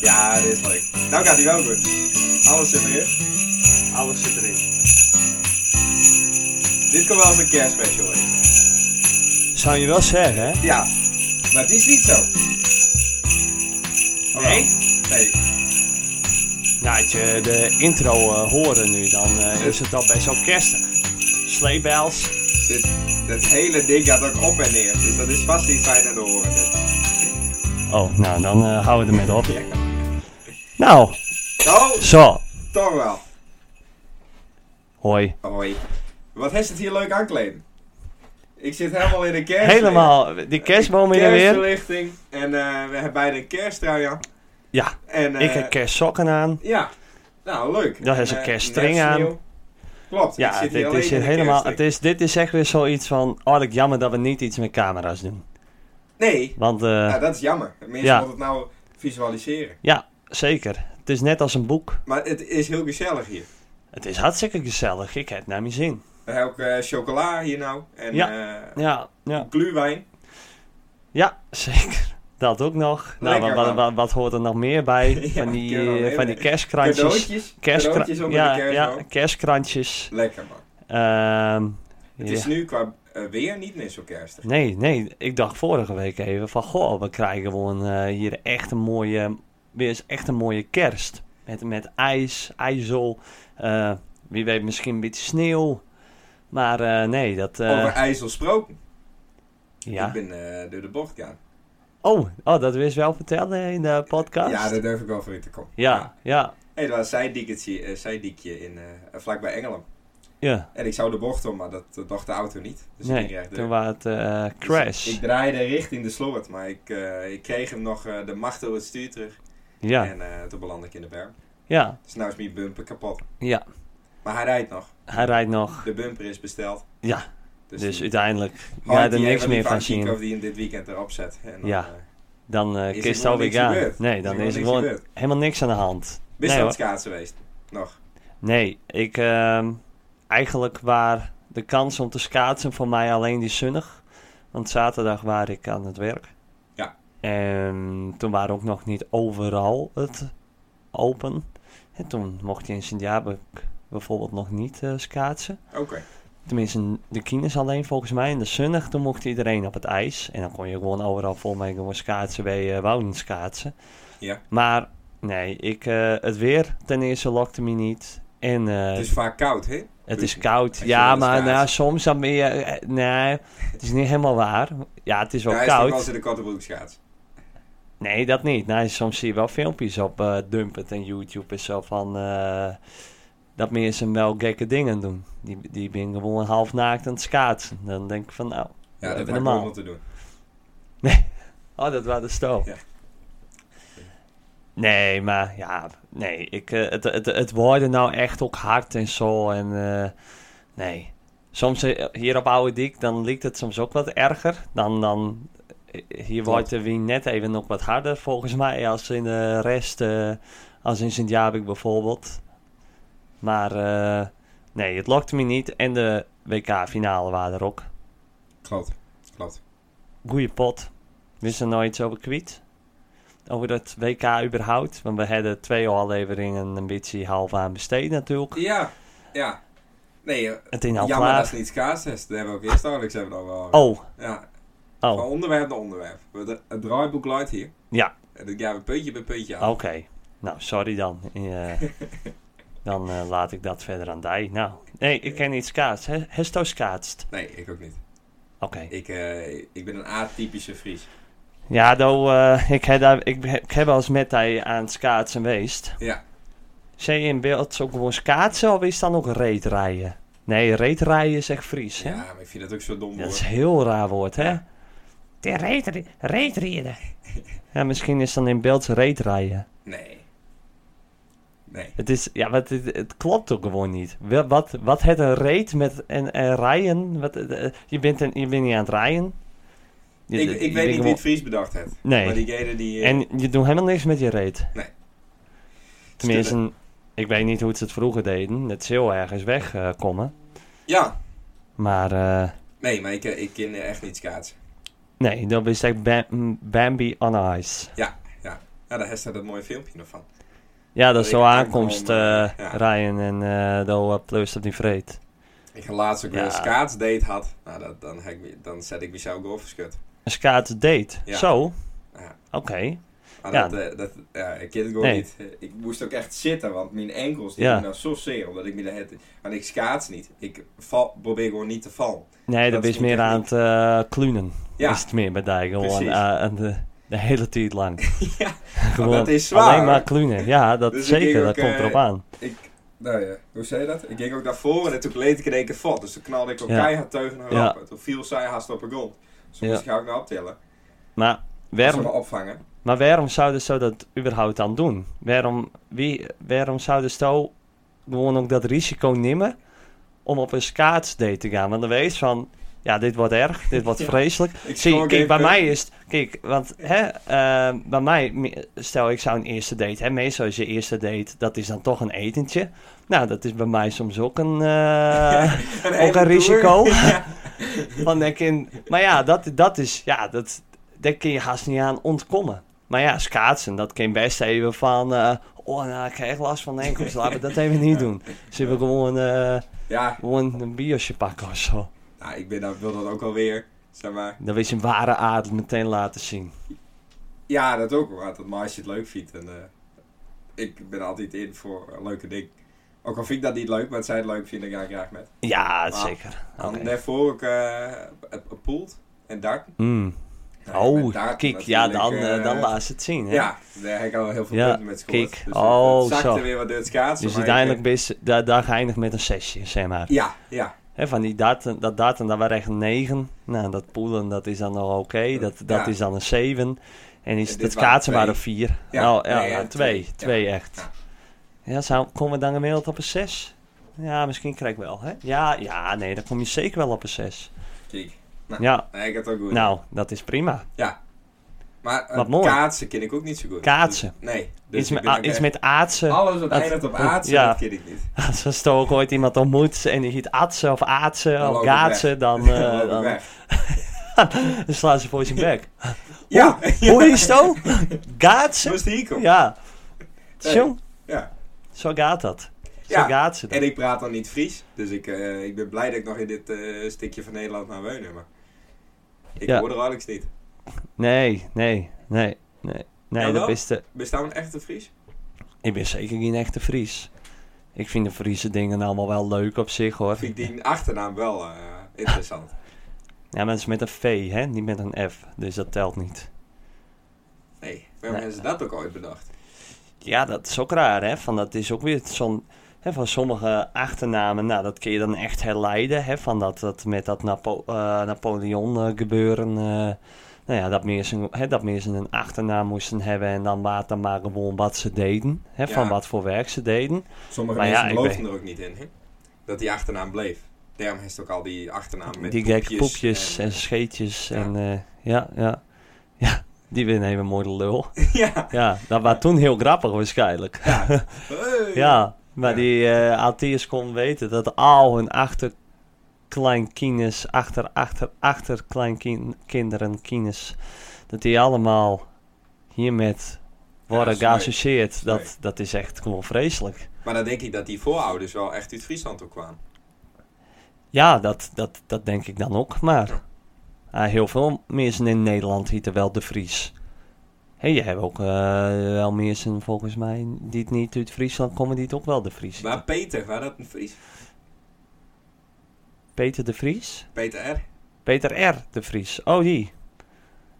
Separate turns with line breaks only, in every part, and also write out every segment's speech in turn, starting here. Ja, dit is leuk. Nou gaat hij wel goed. Alles zit erin.
Alles zit erin.
Dit kan wel als een kerstspecial heten.
Zou je wel zeggen, hè?
Ja, maar het is niet zo. Oh,
Nee?
wel. Nee.
Nou, als je de intro eh, horen nu, dan eh, is het al best wel kerstig. Sleebels.
Dit, dit hele ding gaat ook op en neer. Dus dat is vast niet fijn aan te horen. Dit.
Oh, nou, dan eh, houden we er met op. Nou,
Oh,
zo.
toch wel.
Hoi.
Hoi. Wat is het hier leuk aankleden? Ik zit helemaal in de kerst.
Helemaal, die kerstboom in de weer.
Kerstverlichting. En eh, we hebben bijna een kersttrui aan.
Ja,
En,
ik
eh,
heb kerstsokken aan.
Ja, nou leuk.
Dat is een
Eh,
kerststring
net
aan.
sneeuw. Klopt, ik
Ja,
zit hier
dit
alleen
is,
in
hier
de
helemaal, het
kerststring.
is, dit is echt weer zoiets van... Oh, dat jammer dat we niet iets met camera's doen.
Nee,
Want, eh,
nou, dat is jammer. Mensen
Ja.
moeten het nou visualiseren.
ja, zeker. Het is net als een boek.
Maar het is heel gezellig hier.
Het is hartstikke gezellig. Ik heb het naar mijn zin.
We hebben ook eh, chocola hier nou. En
Ja.
eh,
Ja, ja.
gluwijn.
Ja, zeker. Dat ook nog. Nou,
Lekker,
wat,
man.
wat, wat, wat hoort er nog meer bij?
Ja,
van die,
kunnen we nog meer
eh, van
bij.
die kerstkrantjes.
Cadeautjes.
Kerstkra-
Cadeautjes onder
ja,
de kerstboom.
ja, kerstkrantjes.
Lekker man.
Ehm,
Het
ja.
is nu qua eh, weer niet meer zo kerstig.
Nee, nee. Ik dacht vorige week even van... Goh, we krijgen gewoon eh, hier echt een mooie... Weer eens echt een mooie kerst. Met, met ijs, ijzel. eh, wie weet misschien een beetje sneeuw. Maar eh, nee, dat... eh,
Over IJssel gesproken. Ik
ja.
ben eh, door de bocht gaan.
Oh, oh, dat wist wel vertellen in de podcast.
Ja, daar durf ik wel voor in te komen.
ja, ja,
Hey, dat was zijdieketje, eh, zijdiekje in, eh, vlakbij Engeland.
ja.
En ik zou de bocht om, maar dat eh, dacht de auto niet. Dus ik ging
nee,
rechtdoor.
toen was het eh,
Dus
crash.
ik draaide richting de slot, maar ik, eh, ik kreeg hem nog eh, de macht over het stuur terug.
ja,
En eh, toen belandde ik in de berm.
ja,
Dus nou is mijn bumper kapot.
ja.
Maar hij rijdt nog.
Hij rijdt nog.
De bumper is besteld.
Ja,
Dus,
dus
die-
uiteindelijk
Hard,
ga je er
die
niks
even
meer
even
van
aankieken
zien.
Of die hem dit weekend erop zet. En dan,
Ja.
eh,
Dan eh
Is er
kist het
gewoon
alweer
niks
gaan.
gebeurd?
Nee,
Is
dan
er
is er
gewoon niks
gewoon
gebeurd?
helemaal niks aan de hand.
bist
Nee,
aan
hoor.
het schaatsen geweest? Nog.
Nee, ik ehm, eigenlijk waar de kans om te schaatsen voor mij alleen die zonnig. Want zaterdag was ik aan het werk.
Ja.
En toen waren ook nog niet overal het open. En toen mocht je in Sint-Jabek bijvoorbeeld nog niet eh schaatsen.
Oké.
Tenminste, de kines alleen volgens mij. En de zonnig, toen mocht iedereen op het ijs. En dan kon je gewoon overal vol mee gewoon schaatsen bij eh Wouden schaatsen.
Ja.
Maar nee, ik, eh, het weer ten eerste lokte me niet. En eh,
het is vaak koud, hè?
het is
Als
koud.
je
Ja,
wil
maar
schaatsen.
nou, soms dan ben je... eh, Nee, het is niet helemaal waar. Ja, het is wel
Ja, hij is toch
koud.
wel eens in de korte broek schaats.
Nee, dat niet. Nee, soms zie je wel filmpjes op eh Dumpet en YouTube en zo van... eh, dat mensen wel gekke dingen doen. Die, die ben gewoon half naakt aan het schaatsen. Dan denk ik van, nou...
Ja, dat
even
maakt
normaal.
niemand te doen.
Oh, dat was de stoom.
Ja.
Nee, maar ja, nee. Ik, eh, het, het, het worden nou echt ook hard en zo. En eh, nee. Soms eh, hier op Oude Diek, dan lijkt het soms ook wat erger. Dan, dan eh, hier wordt de wind net even nog wat harder volgens mij. Als in de rest, eh, als in Sint-Jabik bijvoorbeeld. Maar eh, nee, het lokte me niet. En de WK-finale waren er ook.
Klopt. Klopt.
Goeie pot. Wist er nooit iets over kwijt? Over dat WK überhaupt? Want we hadden twee afleveringen een beetje half aan besteed natuurlijk.
Ja, ja. Nee, eh,
Het is al
jammer dat
klaar.
ze niet schaatsen. is. Daar hebben we ook eerst eigenlijk hebben we het al wel over.
Oh,
Ja, van
oh,
onderwerp naar onderwerp. We de- Het draaiboek luidt hier.
Ja.
En dat gaan we puntje bij puntje
oké.
aan.
Nou, sorry dan. Eh, dan eh, laat ik dat verder aan die. Nou, nee, ik ken niet skaats. He- Hesto skaatst.
Nee, ik ook niet.
Oké.
Ik, eh, ik ben een atypische Fries.
Ja, do, eh, ik, heb daar- ik, heb- ik heb wel eens met hij aan het skaatsen geweest.
Ja.
Zijn je in beeld ook gewoon skaatsen of is het dan ook reetrijden? Nee, reetrijden is echt Fries, hè?
Ja, maar ik vind dat ook zo dom
Dat
woord.
is een heel raar woord, hè? De reet- reetrieden. Ja, misschien is dan in beeld reetrijden.
Nee. Nee.
Het is, ja, wat, het, het klopt ook gewoon niet. Wel, Wat, wat het een reet met en, en rijden? Wat, eh, eh, je, bent een, je bent niet aan het rijden. Je-
Ik,
je
ik weet
bent
niet wie
gewoon-
het Fries bedacht heeft.
Nee.
Maar diegene die... eh,
En je doet helemaal niks met je reet.
Nee.
Tenminste, ik weet niet hoe ze het vroeger deden. Dat ze heel ergens wegkomen.
Ja.
maar eh,
Nee, maar ik, eh, ik ken echt niet schaatsen.
nee, dat is echt Bam- Bambi on ice.
Ja, Ja, daar heeft ze dat mooie filmpje nog van.
Ja, dat is
Ik
zo aankomst,
aankom, eh,
eh,
ja.
Ryan en eh door plus op die vreed.
Ik heb laatst ook weer
Ja.
een skaatsdate had. Nou, dat, dan, heb ik, me- dan zet ik mezelf golf verschut.
Een skaat date.
Ja.
Zo?
Ja.
Oké.
Maar
Ja.
dat, eh, dat, ja, ik ken het gewoon
Nee.
niet. Ik moest ook echt zitten, want mijn enkels die
Ja.
doen nou zo zeer. Omdat ik me de hele- Want ik schaats niet. Ik val, probeer gewoon niet te vallen.
Nee,
Dat
dat is
is
meer
niet
aan het eh, klunen.
Ja.
Is het meer bij Dijgel.
Precies.
Aan, aan de, de hele tijd lang.
ja,
Gewoon
dat is zwaar,
Alleen maar
hoor.
klunen. Ja, dat
Dus ik
zeker.
denk
Dat
ook,
komt
eh,
erop aan.
ik... Nou ja, hoe zei je dat? Ik ging ook naar voren en toen leed ik in één keer valt. Dus toen knalde ik ook
Ja.
keihard teugen naar
Ja.
rappen. Toen viel zij haast op een grond. Dus toen
Ja.
moest ik haar ook naar optillen.
Maar
Ze me
waarom,
opvangen.
maar waarom zouden ze dat überhaupt dan doen? Waarom, wie, waarom zouden ze zo gewoon ook dat risico nemen om op een skaatsdate te gaan? Want dan weet je van... Ja, dit wordt erg. Dit wordt
Ja.
vreselijk.
Ik
Zie,
scoor
kijk,
geen
bij
punt.
mij is het... Kijk, want hè, eh, bij mij... me- Stel, ik zou een eerste date... Hè, meestal is je eerste date... Dat is dan toch een etentje. Nou, dat is bij mij soms ook een... eh,
hele
ook
toer.
een risico.
Ja.
van denk in, maar ja, dat, dat is... Ja, dat, daar kun je haast niet aan ontkomen. Maar ja, schaatsen, dat kan best even van... eh, oh, nou, ik krijg last van de enkels. Laten we dat even niet doen. Ze hebben gewoon, eh,
ja,
gewoon een biosje pakken of zo.
nou, ik ben, daar- wil dat ook alweer. Zeg maar.
Dan wil je zijn ware aard meteen laten zien.
Ja, dat ook wel. Dat maar als je het leuk vindt. En, eh, ik ben altijd in voor een leuke ding. Ook al vind ik dat niet leuk, maar het zij het leuk vinden, dan ga ik graag met.
Ja,
Ah,
zeker.
Dan
Oké.
Daarvoor ook eh, het het poelt en dak.
Mm.
Nou, met
Oh,
darten
kijk, ja,
natuurlijk,
dan, eh,
eh,
dan laat ze het zien. Hè?
Ja, daar heb ik al heel veel
Ja,
punten met gescoord.
kijk.
Dus
Oh,
het, het zakte
zo.
weer wat door het schaatsen.
Dus
maar ik- eh,
uiteindelijk ben je, daar, daar geëindigd met een zesje, zeg maar.
Ja, ja.
Hè, van die datum, dat datum, dat waren echt een negen. Nou, dat poelen, dat is dan nog oké. Dat, dat
Ja.
is dan een zeven. En is
En dit
dat
waren
kaatsen
twee.
maar een vier.
Ja,
nou, ja,
nee, ja,
nou, twee.
twee.
Twee echt. Ja, zou, komen we dan gemiddeld op een zes? Ja, misschien krijg ik wel, hè? Ja, ja, nee, dan kom je zeker wel op een zes.
Kijk.
Ja,
Nee, ik heb het ook goed.
nou, dat is prima.
maar eh,
wat mooi.
kaatsen ken ik ook niet zo goed.
Kaatsen.
Dus- nee. Dus
Iets
ik
met,
ben
a-
ook
iets
echt-
met aatsen.
Alles wat
dat-
eindigt op aatsen,
ja.
dat ken ik niet.
Als er toch ook ooit iemand ontmoet en die heet Atsen of Aatsen
Dan
of
loop ik weg.
Gaatsen, dan,
Dan
eh,
loop ik
dan,
weg.
dan slaan ze voor zijn bek.
Ja,
Hoe is het ook? Gaatsen?
Moest hier komen.
Ja.
Nee.
Tjong,
Ja.
zo gaat dat. Zo
Ja,
gaat ze dat.
En ik praat dan niet Fries, dus ik, eh, ik ben blij dat ik nog in dit eh, stukje van Nederland naar woon. Maar ik
Ja.
hoor er Alex niet.
Nee, nee, nee, nee. Nee,
Jawel?
dat is de...
Bestaan we echt een Fries?
Ik ben zeker geen echte Fries. Ik vind de Friese dingen allemaal wel leuk op zich, hoor.
Vind ik die achternaam wel eh, interessant.
Ja, mensen met een V, hè? Niet met een F. Dus dat telt niet.
Nee, waarom hebben ze dat ook ooit bedacht?
Ja, dat is ook raar, hè? Van, dat is ook weer zo'n... hè, van sommige achternamen, nou, dat kun je dan echt herleiden, hè? Van dat, dat met dat Napo- eh, Napoleon eh, gebeuren... eh, nou ja, dat mensen, hè, dat mensen een achternaam moesten hebben... en dan later maar gewoon wat ze deden. Hè, Van
Ja.
wat voor werk ze deden.
Sommige
Maar ja,
mensen
ik
geloofden er ook niet in, hè? Dat die achternaam bleef. Daarom heeft ook al die achternaam met
die gekke poepjes en, scheetjes en... eh, ja, ja. Ja, die winnen even mooi de lul.
ja,
ja, dat was toen heel grappig waarschijnlijk.
ja. Hey.
Ja, maar
Ja.
die eh Altiers kon weten dat al hun achterkleinkines, achter, achter, achterkleinkinderen, kines, dat die allemaal hiermet worden
Ja, sorry.
geassocieerd. Dat,
Sorry.
dat is echt gewoon vreselijk.
Maar dan denk ik dat die voorouders wel echt uit Friesland ook kwamen.
Ja, dat, dat, dat denk ik dan ook. Maar
Ja.
ah, heel veel mensen in Nederland hieten wel de Fries. Hé, je hebt ook eh, wel mensen volgens mij die het niet uit Friesland komen, die het ook wel de Fries hieten.
Maar Peter, waar dat een Fries?
Peter de Vries?
Peter R.
Peter R. de Vries. Oh, die.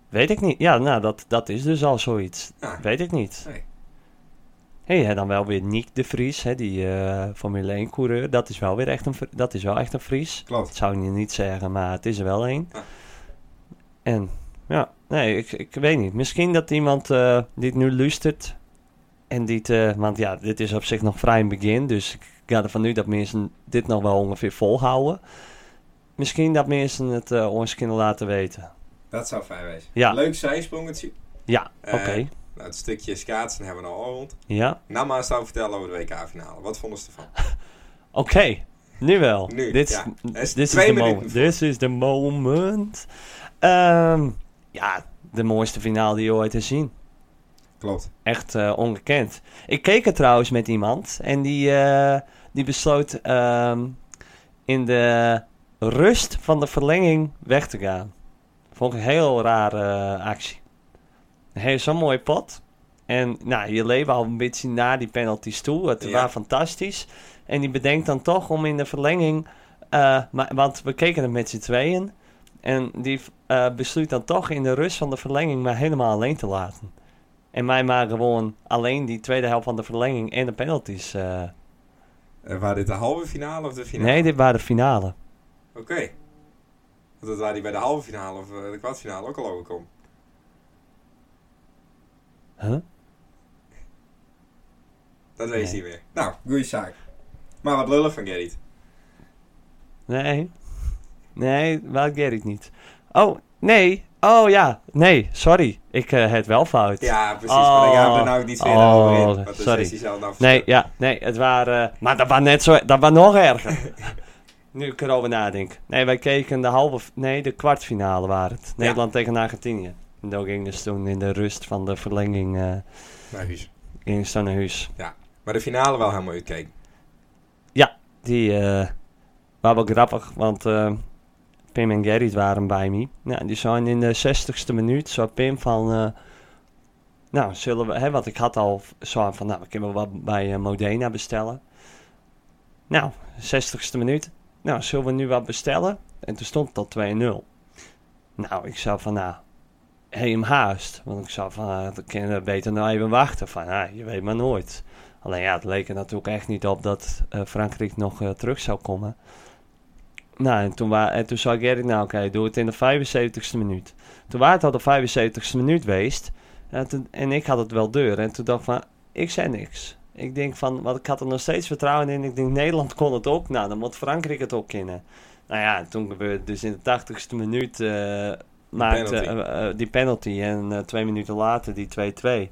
Weet ik niet. Ja, nou, dat, dat is dus al zoiets.
Ja.
Weet ik niet.
Nee.
Hé, hey, dan wel weer Nick de Vries, hè, die eh, Formule 1 coureur. Dat is wel weer echt een, Fr- dat is wel echt een Fries.
Klopt.
Dat zou ik niet zeggen, maar het is er wel een.
Ja.
En, ja, nee, ik, ik weet niet. Misschien dat iemand eh, die het nu luistert en die het, eh, want ja, dit is op zich nog vrij een begin, dus ik ga ervan uit dat mensen dit nog wel ongeveer volhouden. Misschien dat mensen het eh, ons kunnen laten weten.
Dat zou fijn wezen.
Ja.
Leuk zijsprongetje.
Ja,
Eh,
oké.
Nou, het stukje schaatsen hebben we al rond.
Ja,
Nou, maar zou vertellen over de WK-finale. Wat vonden ze ervan?
oké. Nu wel.
Nu,
dit
ja. Er
is
is
dit is
twee
de
minuten
moment.
voor.
This is the moment. Ehm, ja, de mooiste finale die je ooit hebt zien.
klopt.
Echt eh, ongekend. Ik keek er trouwens met iemand en die, eh, die besloot ehm, in de rust van de verlenging weg te gaan. Vond ik een heel rare eh, actie. Hij zo'n mooie pot. En nou, je leeft al een beetje naar die penalties toe. Het
Ja.
was fantastisch. En die bedenkt dan toch om in de verlenging. eh, maar, want we keken het met z'n tweeën. En die eh, besluit dan toch in de rust van de verlenging maar helemaal alleen te laten. En mij maar gewoon alleen die tweede helft van de verlenging en de penalties. eh.
Eh, waren dit de halve finale of de finale?
Nee, dit waren de finale.
Oké. Want dat waren die bij de halve finale of eh, de kwartfinale ook al overkomen.
Huh?
Dat weet je
Nee.
niet meer. Nou, goeie zaak. Maar wat lullig van Gerrit.
Nee. Nee, wel Gerrit niet. Oh, nee. Oh ja, nee, sorry. Ik eh het wel fout.
Ja, precies. Maar daar gaan we
Oh.
nou ook niet verder
Oh,
over in. Want dan
sorry.
is hij zelf nou
Nee, ja, nee, het waren... eh, maar dat was net zo... Dat was nog erger. nu ik erover nadenk. Nee, wij keken de halve... f- Nee, de kwartfinale waren het.
Ja.
Nederland tegen Argentinië. En dat ging dus toen in de rust van de verlenging eh
Nou, Guus.
in Stannenhuis.
Maar de finale wel helemaal uitkijken.
Die eh waren wel grappig, want eh, Pim en Gerrit waren bij me. Nou, die zijn in de 60ste minuut, zo Pim van... eh, nou, zullen we... Hè, want ik had al zo van, nou, we kunnen wat bij eh, Modena bestellen. Nou, 60ste minuut. Nou, zullen we nu wat bestellen? En toen stond het al 2-0. Nou, ik zou van, nou... Heem haast. Want ik zou van, ah, dan kunnen we beter nou even wachten. Van, ah, je weet maar nooit. Alleen ja, het leek er natuurlijk echt niet op dat eh, Frankrijk nog eh, terug zou komen. Nou, en toen, wa- en toen zei Gerrit, nou oké, doe het in de 75ste minuut. Toen was het al de 75ste minuut geweest. En, toen- en ik had het wel deur. En toen dacht ik van, ik zei niks. Ik denk van, want ik had er nog steeds vertrouwen in. Ik denk, Nederland kon het ook. Nou, dan moet Frankrijk het ook kennen. Nou ja, en toen gebeurde het dus in de 80ste minuut. eh maakte
penalty.
eh, eh, die penalty. En eh, twee minuten later die 2-2.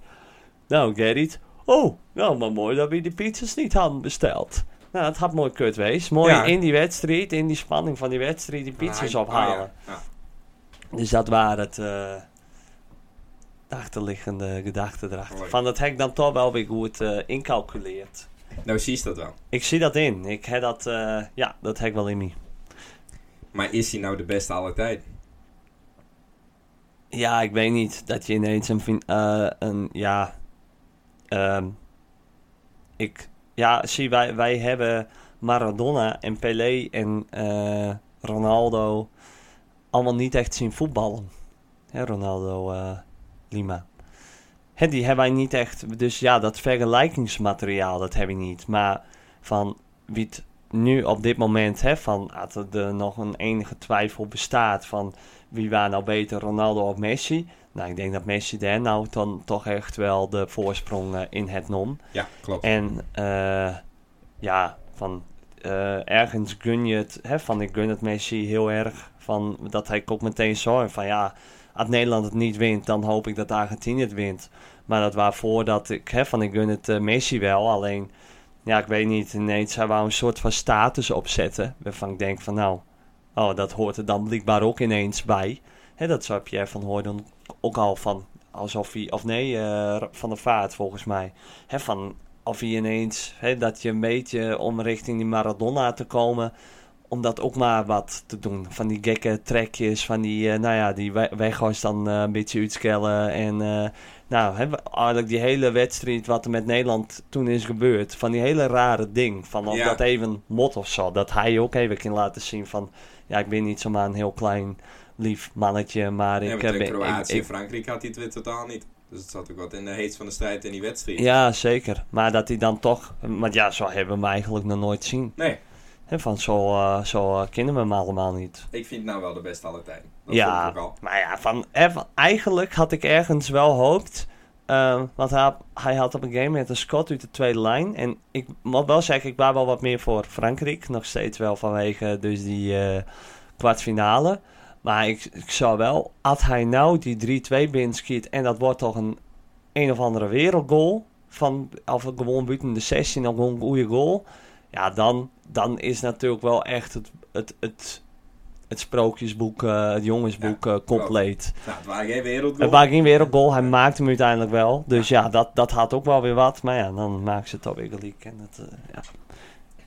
Nou, Gerrit, Oh, nou maar mooi dat we die pizzas niet hadden besteld. Nou, het had mooi kut geweest. Mooi
Ja.
in die wedstrijd, in die spanning van die wedstrijd, die pizzas
Ah,
ophalen.
oh ja. Ja.
Dus dat waren het eh, de achterliggende gedachten erachter.
Mooi.
Van dat heb ik dan toch wel weer goed eh, incalculeerd.
Nou, zie je dat wel.
Ik zie dat in. Ik heb dat, eh, ja, dat heb ik wel in me.
Maar is hij nou de beste aller tijd?
Ja, ik weet niet dat je ineens een. fin- eh, een ja. ehm, ik. Ja, zie, wij, wij hebben Maradona en Pelé en eh, Ronaldo allemaal niet echt zien voetballen. Hè, Ronaldo eh, Lima. Hè, die hebben wij niet echt. Dus ja, dat vergelijkingsmateriaal, dat heb ik niet. Maar van wie het nu op dit moment, hè, van dat er er nog een enige twijfel bestaat van wie waren nou beter, Ronaldo of Messi? Nou, ik denk dat Messi daar nou dan toch echt wel de voorsprong eh, in het nom.
Ja, klopt.
En eh, ja, van eh, ergens gun je het, hè, van ik gun het Messi heel erg. Van dat hij ook meteen zorg van ja, als Nederland het niet wint, dan hoop ik dat Argentinië het wint. Maar dat waarvoor dat ik, hè, van ik gun het eh, Messi wel, alleen ja, ik weet niet, ineens zou wel een soort van status opzetten. Waarvan ik denk van nou, oh, dat hoort er dan blijkbaar ook ineens bij. Hè, dat zou Pierre van Hooydonk ook al van, alsof hij, of nee, eh, van de vaart volgens mij. Hè, van of hij ineens, hè, dat je een beetje om richting die Maradona te komen, om dat ook maar wat te doen. Van die gekke trekjes, van die, eh, nou ja, die we- weggoois dan eh, een beetje uitskellen. En eh, nou, hè, we- eigenlijk die hele wedstrijd wat er met Nederland toen is gebeurd, van die hele rare ding. Van of
Ja.
dat even mot of zo, dat hij ook even kan laten zien van, ja, ik ben niet zomaar een heel klein lief mannetje, maar
ja,
ik
maar
eh,
tegen
ben... ik-
Kroatië
ik-
en Frankrijk had hij het weer totaal niet. Dus het zat ook wat in de heet van de strijd in die wedstrijd.
ja, zeker. Maar dat hij dan toch... Want ja, zo hebben we hem eigenlijk nog nooit zien.
Nee,
Hè, van zo, eh, zo eh, kennen we hem allemaal niet.
ik vind het nou wel de beste aller tijd. Dat
Ja.
vond ik ook al.
Maar ja, van, eh, van- eigenlijk had ik ergens wel gehoopt... eh, want hij, hij had op een game met een Scott uit de tweede lijn. En ik moet wel zeggen, ik was wel wat meer voor Frankrijk. Nog steeds wel vanwege dus die eh, kwartfinale. Maar ik, ik zou wel, had hij nou die 3-2 binnenschiet... en dat wordt toch een een of andere wereldgoal... Van, of gewoon buiten de 16, of gewoon een goede goal. Ja, dan, dan is natuurlijk wel echt het, het, het het sprookjesboek, eh, het jongensboek eh, compleet.
Nou, het waren geen
Het
wereldgoal.
was geen wereldgoal, hij maakte hem uiteindelijk wel. Dus ja, dat, dat had ook wel weer wat. Maar ja, dan maken ze het alweer gelijk. En dat, eh, ja.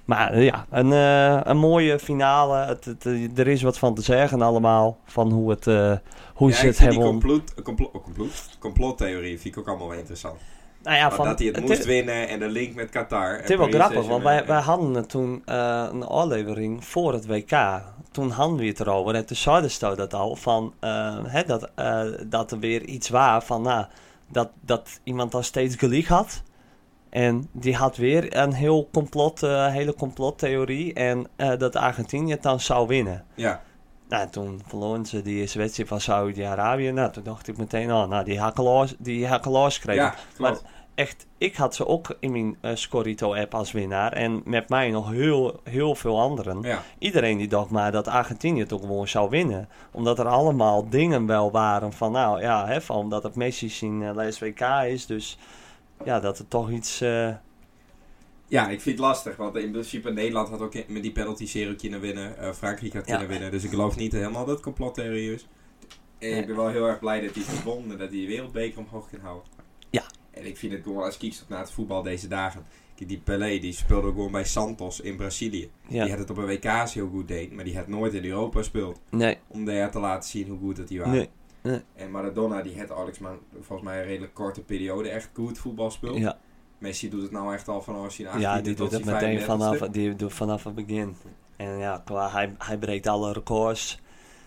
Maar eh, ja, een, eh, een mooie finale. Het, het, eh, er is wat van te zeggen allemaal. Van hoe, het, eh, hoe
Ja,
ze
ik vind
het
die
hebben... om-
complot, eh, complot, oh, complot, complottheorie vind ik ook allemaal wel interessant.
Nou ja,
Maar dat hij het,
het
moest
is-
winnen en de link met Qatar.
Het is wel grappig, want wij, wij hadden het toen eh, een aflevering voor het WK. Toen hadden we het erover en toen zeiden ze dat al. Van, eh, hè, dat, eh, dat er weer iets was van nou, dat, dat iemand dan steeds gelijk had. En die had weer een heel complot, eh, hele complottheorie. En eh, dat Argentinië het dan zou winnen.
Ja,
Nou, toen verloren ze die eerste wedstrijd van Saudi-Arabië. Nou, toen dacht ik meteen, oh, nou, die hakkelaars, die hakkelaars kregen.
ja
Maar
klopt.
echt, ik had ze ook in mijn eh, Scorito-app als winnaar. En met mij nog heel, heel veel anderen.
Ja,
Iedereen die dacht maar dat Argentinië het ook gewoon zou winnen. Omdat er allemaal dingen wel waren van, nou ja, hè, van omdat het Messi zijn uh, WK is. Dus ja, dat er toch iets... eh,
ja, ik vind het lastig, want in principe Nederland had ook met die penalty serie kunnen winnen. eh, Frankrijk had
Ja.
kunnen winnen, dus ik geloof niet helemaal dat het complottheorie is. En
Nee.
ik ben wel heel erg blij dat hij het won en dat hij de wereldbeker omhoog kan houden.
Ja.
En ik vind het gewoon als kiekstop na het voetbal deze dagen. Kijk, Die Pelé, die speelde ook gewoon bij Santos in Brazilië.
ja,
Die had het op een WK's heel goed deed, maar die had nooit in Europa gespeeld.
nee,
Om daar te laten zien hoe goed dat hij was.
nee,
En Maradona, die had Alex maar volgens mij een redelijk korte periode echt goed voetbal speelt.
ja,
Messi doet het nou echt al vanaf zijn 18e
ja, die
tot
doet het
zijn
meteen
35e.
vanaf, die doet vanaf het begin. En ja, qua, hij, hij breekt alle records.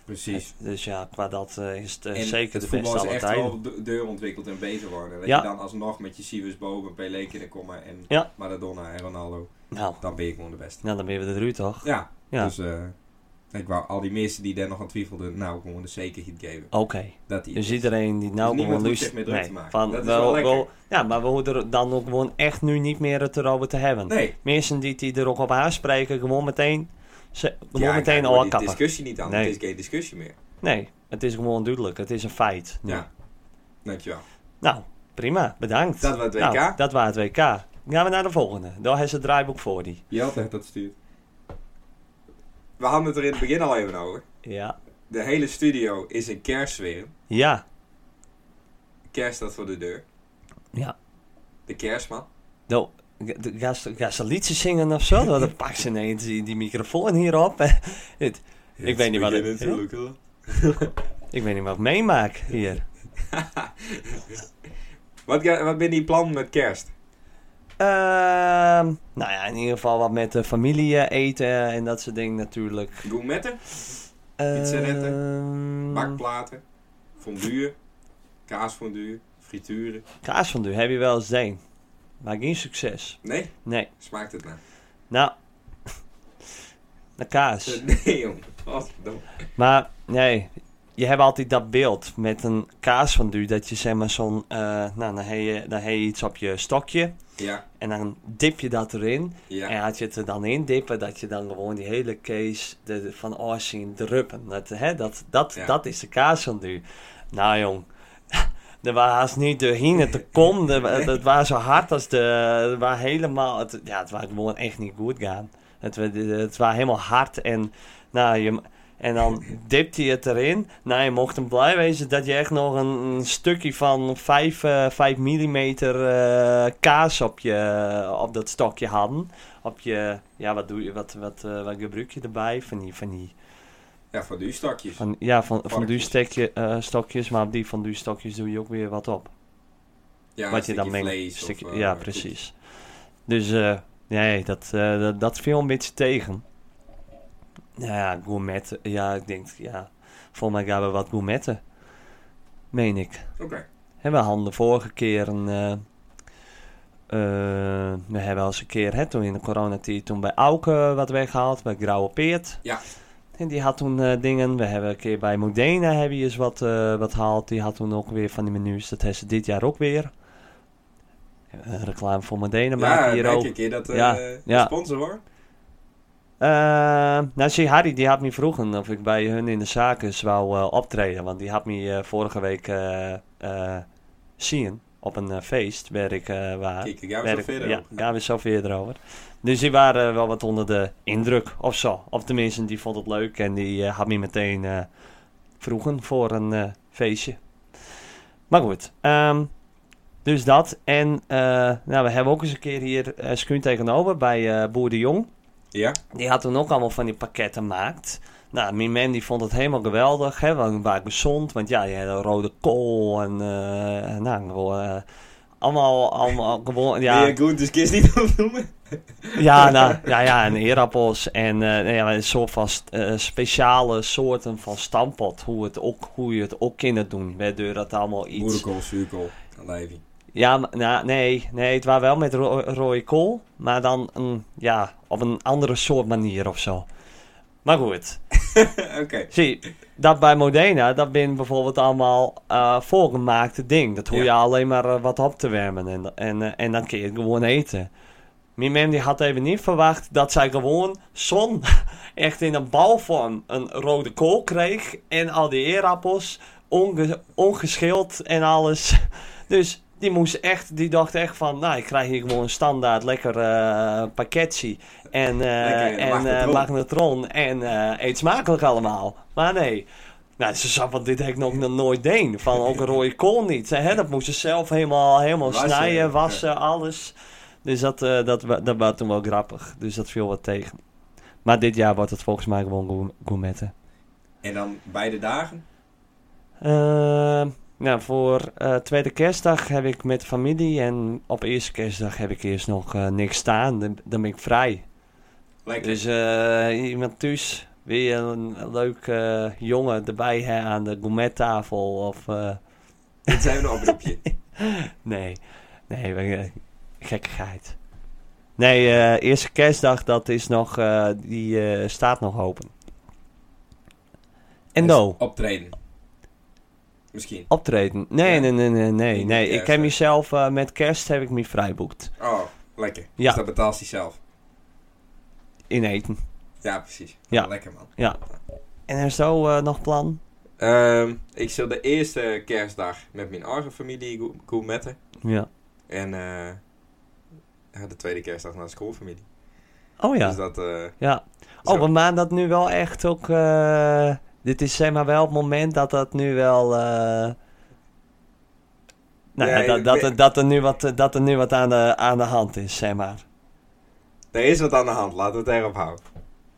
Precies.
Dus ja, qua dat eh, is het eh,
En
zeker de
het voetbal
beste
is
aller
echt
tijden.
wel de- deur ontwikkeld en bezig worden. Dat
Ja.
je dan alsnog met je Sivus boven Pelé kunnen komen en
Ja.
Maradona en Ronaldo.
Nou,
Dan ben je gewoon de beste.
nou, dan ben je er uit, toch?
Ja,
Ja.
dus eh, ik wou al die mensen die daar nog aan twijfelden, nou gewoon de zekerheid geven.
Oké,
Dat die
dus iedereen die nou
Dus niemand
gewoon
hoeft zich
luistert...
meer druk te maken. Dat is
we-
wel
we-
lekker.
ja, maar we hoeven er dan ook gewoon echt nu niet meer het erover te hebben.
Nee,
Mensen die, die er ook op aanspreken, gewoon meteen, ze, gewoon
ja,
meteen
ik hoor
al
die
kappen.
discussie niet aan.
Nee.
Het is geen discussie meer.
Nee, het is gewoon duidelijk. Het is een feit. nu.
Ja, dankjewel.
Nou, prima. Bedankt.
Dat was het WK.
Nou, dat was het WK. Gaan we naar de volgende. Daar is het draaiboek voor die.
Jelte heeft dat stuurt. We hadden het er in het begin al even over.
Ja.
De hele studio is in kerstsfeer.
Ja.
Kerst staat voor de deur.
Ja.
De kerstman.
Nou, ga- ga ze- ga ze liedjes zingen of zo? Dan pak ze ineens die, die microfoon hierop. Het- Ik weet niet wat het-
is. beginnen te lukken.
ik weet niet wat ik meemaak hier.
Wat, ga- wat ben die plan met kerst?
Ehm, nou ja, in ieder geval wat met de familie eh, eten en dat soort dingen natuurlijk.
Gourmetten,
Pizzeretten, Ehm, Mm.
bakplaten, fondue, kaasfondue, frituren.
Kaas van heb je wel eens deen. Maar geen succes.
Nee,
Nee.
smaakt het naar?
Nou, de kaas.
Nee, jongen. Wat verdomme.
Maar nee, je hebt altijd dat beeld met een kaas van dat je zeg maar zo'n, eh, nou dan heb, je, dan heb je iets op je stokje
Ja,
en dan dip je dat erin.
ja.
En had je het er dan in dippen, dat je dan gewoon die hele case de, de- van oh, oors zien druppen. Dat, hè, dat, dat,
Ja.
dat is de kaas van nu. Nou jong, er was haast niet doorheen het te komen. Er wa-
Nee.
Het was zo hard als de... Het was helemaal... Het, ja, het was gewoon echt niet goed gaan. Het, wa- het was helemaal hard en... Nou, je, en dan dipte je het erin. Nou, je mocht hem blij wezen dat je echt nog een, een stukje van 5, eh 5 mm kaas op, je, op dat stokje hadden. Op je, ja, wat doe je, wat, wat, eh, wat gebruik je erbij? Van die, van die,
Ja, fonduestakjes.
van, ja, van, van die
Varkens.
stekje, eh, stokjes, maar op die van die stokjes doe je ook weer wat op.
Ja,
wat je dan
mee.
mengt. Stukje-
eh,
ja, precies. Dus, eh, nee, dat, eh, dat, dat viel een beetje tegen. Nou ja, gourmetten. Ja, ik denk, ja, volgens mij gaan we wat gourmetten. Meen ik.
Oké.
Hè, we hadden de vorige keer een... eh, eh, we hebben al eens een keer, hè, toen in de coronatijd, toen bij Auke wat weggehaald, bij Grauwe Peert.
Ja.
En die had toen eh, dingen, we hebben een keer bij Modena hebben we eens wat, eh wat gehaald. Die had toen ook weer van die menus, dat hebben ze dit jaar ook weer. Een reclame voor Modena maken
Ja,
hier
merk
ook.
een keer dat eh
Ja, ja.
sponsor hoor.
Eh, nou, zie, Harry die had me vroegen of ik bij hun in de zaken zou eh, optreden. Want die had me eh, vorige week eh, eh, zien op een eh, feest waar ik eh waar.
Kijk, ik jou
waar
zo
ik-
verder.
ja,
ook.
daar we zo verder over. Dus die waren wel wat onder de indruk of zo. Of tenminste, die vond het leuk en die eh, had me meteen eh, vroegen voor een eh, feestje. Maar goed, ehm, dus dat. En eh, nou, we hebben ook eens een keer hier eh schuin tegenover bij eh Boer de Jong.
Ja?
Die had toen ook allemaal van die pakketten gemaakt. Nou, mijn man die vond het helemaal geweldig, hè, want waar gezond. Want ja, je had rode kool en eh, nou, gewoon, eh, allemaal, allemaal gewoon,
Ja.
ja,
Nee, groenteskies niet opnoemen.
ja, nou, ja, ja, en eerappels en eh, nou ja, een soort van st- eh, speciale soorten van stampot, hoe, het ook, hoe je het ook kinderen doen, waardoor dat allemaal iets...
Moederkool, zuurkool, olijvie.
Ja, maar- nou, nee, nee, het was wel met ro rode kool, maar dan een, ja, op een andere soort manier of zo. Maar goed,
Oké.
Zie, dat bij Modena, dat ben bijvoorbeeld allemaal eh, voorgemaakte ding. Dat hoef je
Ja.
alleen maar eh, wat op te wermen en, en, eh, en dan kun je het gewoon eten. Mijn mem die had even niet verwacht dat zij gewoon zon echt in een balvorm een rode kool kreeg. En al die eerappels, onge, ongeschild en alles. Dus die moest echt, die dacht echt van, nou ik krijg hier gewoon een standaard lekker eh pakketje. En, eh,
Lekker,
en eh,
magnetron.
magnetron en eh, eet smakelijk allemaal. Maar nee. Nou, ze zag van dit heb ik nog nooit deed. Van ook een rode kool niet. Hè? Dat moest ze zelf helemaal, helemaal
Wassen,
snijden,
ja.
wassen, alles. Dus dat, eh, dat, wa- dat was toen wel grappig. Dus dat viel wat tegen. Maar dit jaar wordt het volgens mij gewoon gour- gourmetten.
En dan beide dagen?
Ehm, nou, voor eh, tweede kerstdag heb ik met familie en op eerste kerstdag heb ik eerst nog eh, niks staan. Dan, dan ben ik vrij.
Lekker.
Dus eh, iemand thuis weer een leuk eh, jongen erbij hè, aan de gourmettafel of... eh,
Dit zijn we een oproepje.
Nee, nee, we- eh, gekkigheid. Nee, eh, eerste kerstdag, dat is nog, eh, die eh, staat nog open. En nou?
Dus
no,
Optreden. Misschien.
optreden. Nee,
Ja.
nee, nee, nee, nee,
Niet met
nee. Ik
kerst,
heb
hè?
mezelf, eh, met kerst heb ik me vrijboekt.
Oh, lekker.
Ja.
Dus dat betaalt hij zelf.
In eten.
Ja, precies.
Ja.
Lekker man.
En er is zo eh, nog plan?
Ehm, ik zal de eerste kerstdag met mijn eigen familie go- gourmetten.
Ja.
En eh, ja, de tweede kerstdag naar de schoolfamilie.
Oh ja.
Dus dat... eh,
Ja.
zo.
Oh, we maken dat nu wel echt ook. eh, dit is zeg maar wel het moment dat dat nu wel. eh, nou ja,
Ja,
dat,
ik
dat,
ben-
er- dat er nu wat, dat er nu wat aan, de, aan de hand is, zeg maar.
Er is wat aan de hand, laten we het erop houden.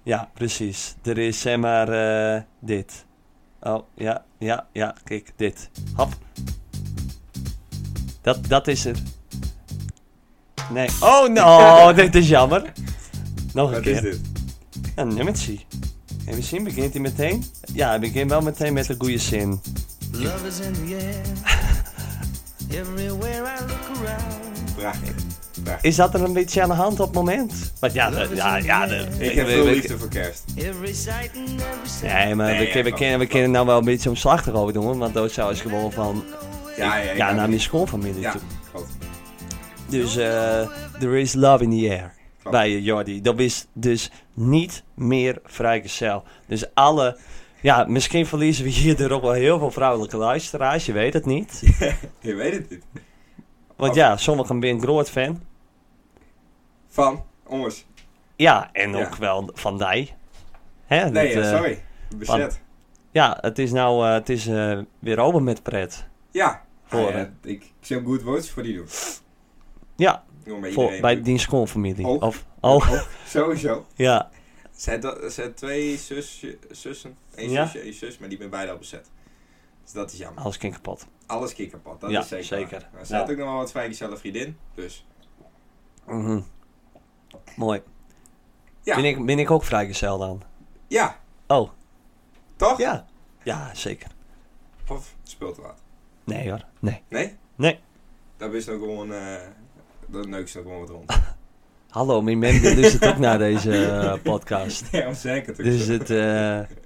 Ja, precies. Er is zeg maar eh, dit. Oh, ja, ja, ja, kijk, dit. Hap. Dat, dat is het. Nee. Oh, no, dit is jammer. Nog een
Wat
keer.
is dit?
Een nummertje. Even zien, begint hij meteen? Ja, hij begint wel meteen met een goede zin.
Love is in the air. Everywhere I look around.
Prachtig. Prachtig.
Is dat er een beetje aan de hand op het moment? Want ja, de- ja, ja. de-
Ik heb
we-
veel
we-
liefde voor kerst.
Every sight and every sound.
Nee, maar
Nee,
we,
ja,
kunnen- we,
van-
kunnen, we
van-
kunnen nou wel een beetje omslachtig over doen, hoor, want dat zou is gewoon van...
Ja, ja,
Ja, nou, naar mijn
niet.
schoolfamilie
Ja,
toe.
klopt.
Dus, eh there is love in the air.
Klopt.
Bij eh, Jordi. Dat is dus niet meer vrijgezel. Dus alle... Ja, misschien verliezen we hierdoor ook wel heel veel vrouwelijke luisteraars. Je weet het niet.
Je weet het niet.
Want ja, sommigen ben groot fan.
Van, ons.
Ja, en ook
Ja.
wel van die. Hè,
Nee,
dat,
ja,
eh,
sorry. Bezet.
ja, het is nou eh, het is, eh, weer open met pret.
Ja.
Voor,
Ah, ja,
eh,
ik ik zou goed woord voor die doen.
Ja,
Noem maar
voor,
iedereen.
bij die schoolfamilie.
Ook.
Of, oh,
Sowieso.
ja.
Zijn, dat, zijn twee zusje, zussen. Eén
Ja.
zusje, één zus, maar die ben beide al bezet. Dus dat is jammer.
Alles ging kapot.
Alles kikkerpad, dat
Ja,
is zeker.
zeker.
waar. Maar ze had
Ja.
ook nog wel wat vrijgezelle vriendin. Dus
Mhm. Mooi.
Ja.
Ben, ik, ben ik ook vrijgezel dan?
ja,
Oh,
toch?
ja. Ja, zeker.
Of speelt er wat?
Nee hoor, nee.
Nee?
Nee.
Dan is dan gewoon. eh dan neukt ze dan gewoon wat rond.
Hallo, mijn man die luistert ook naar deze eh, podcast.
Ja, maar zeker toch?
Dus eh, het, eh,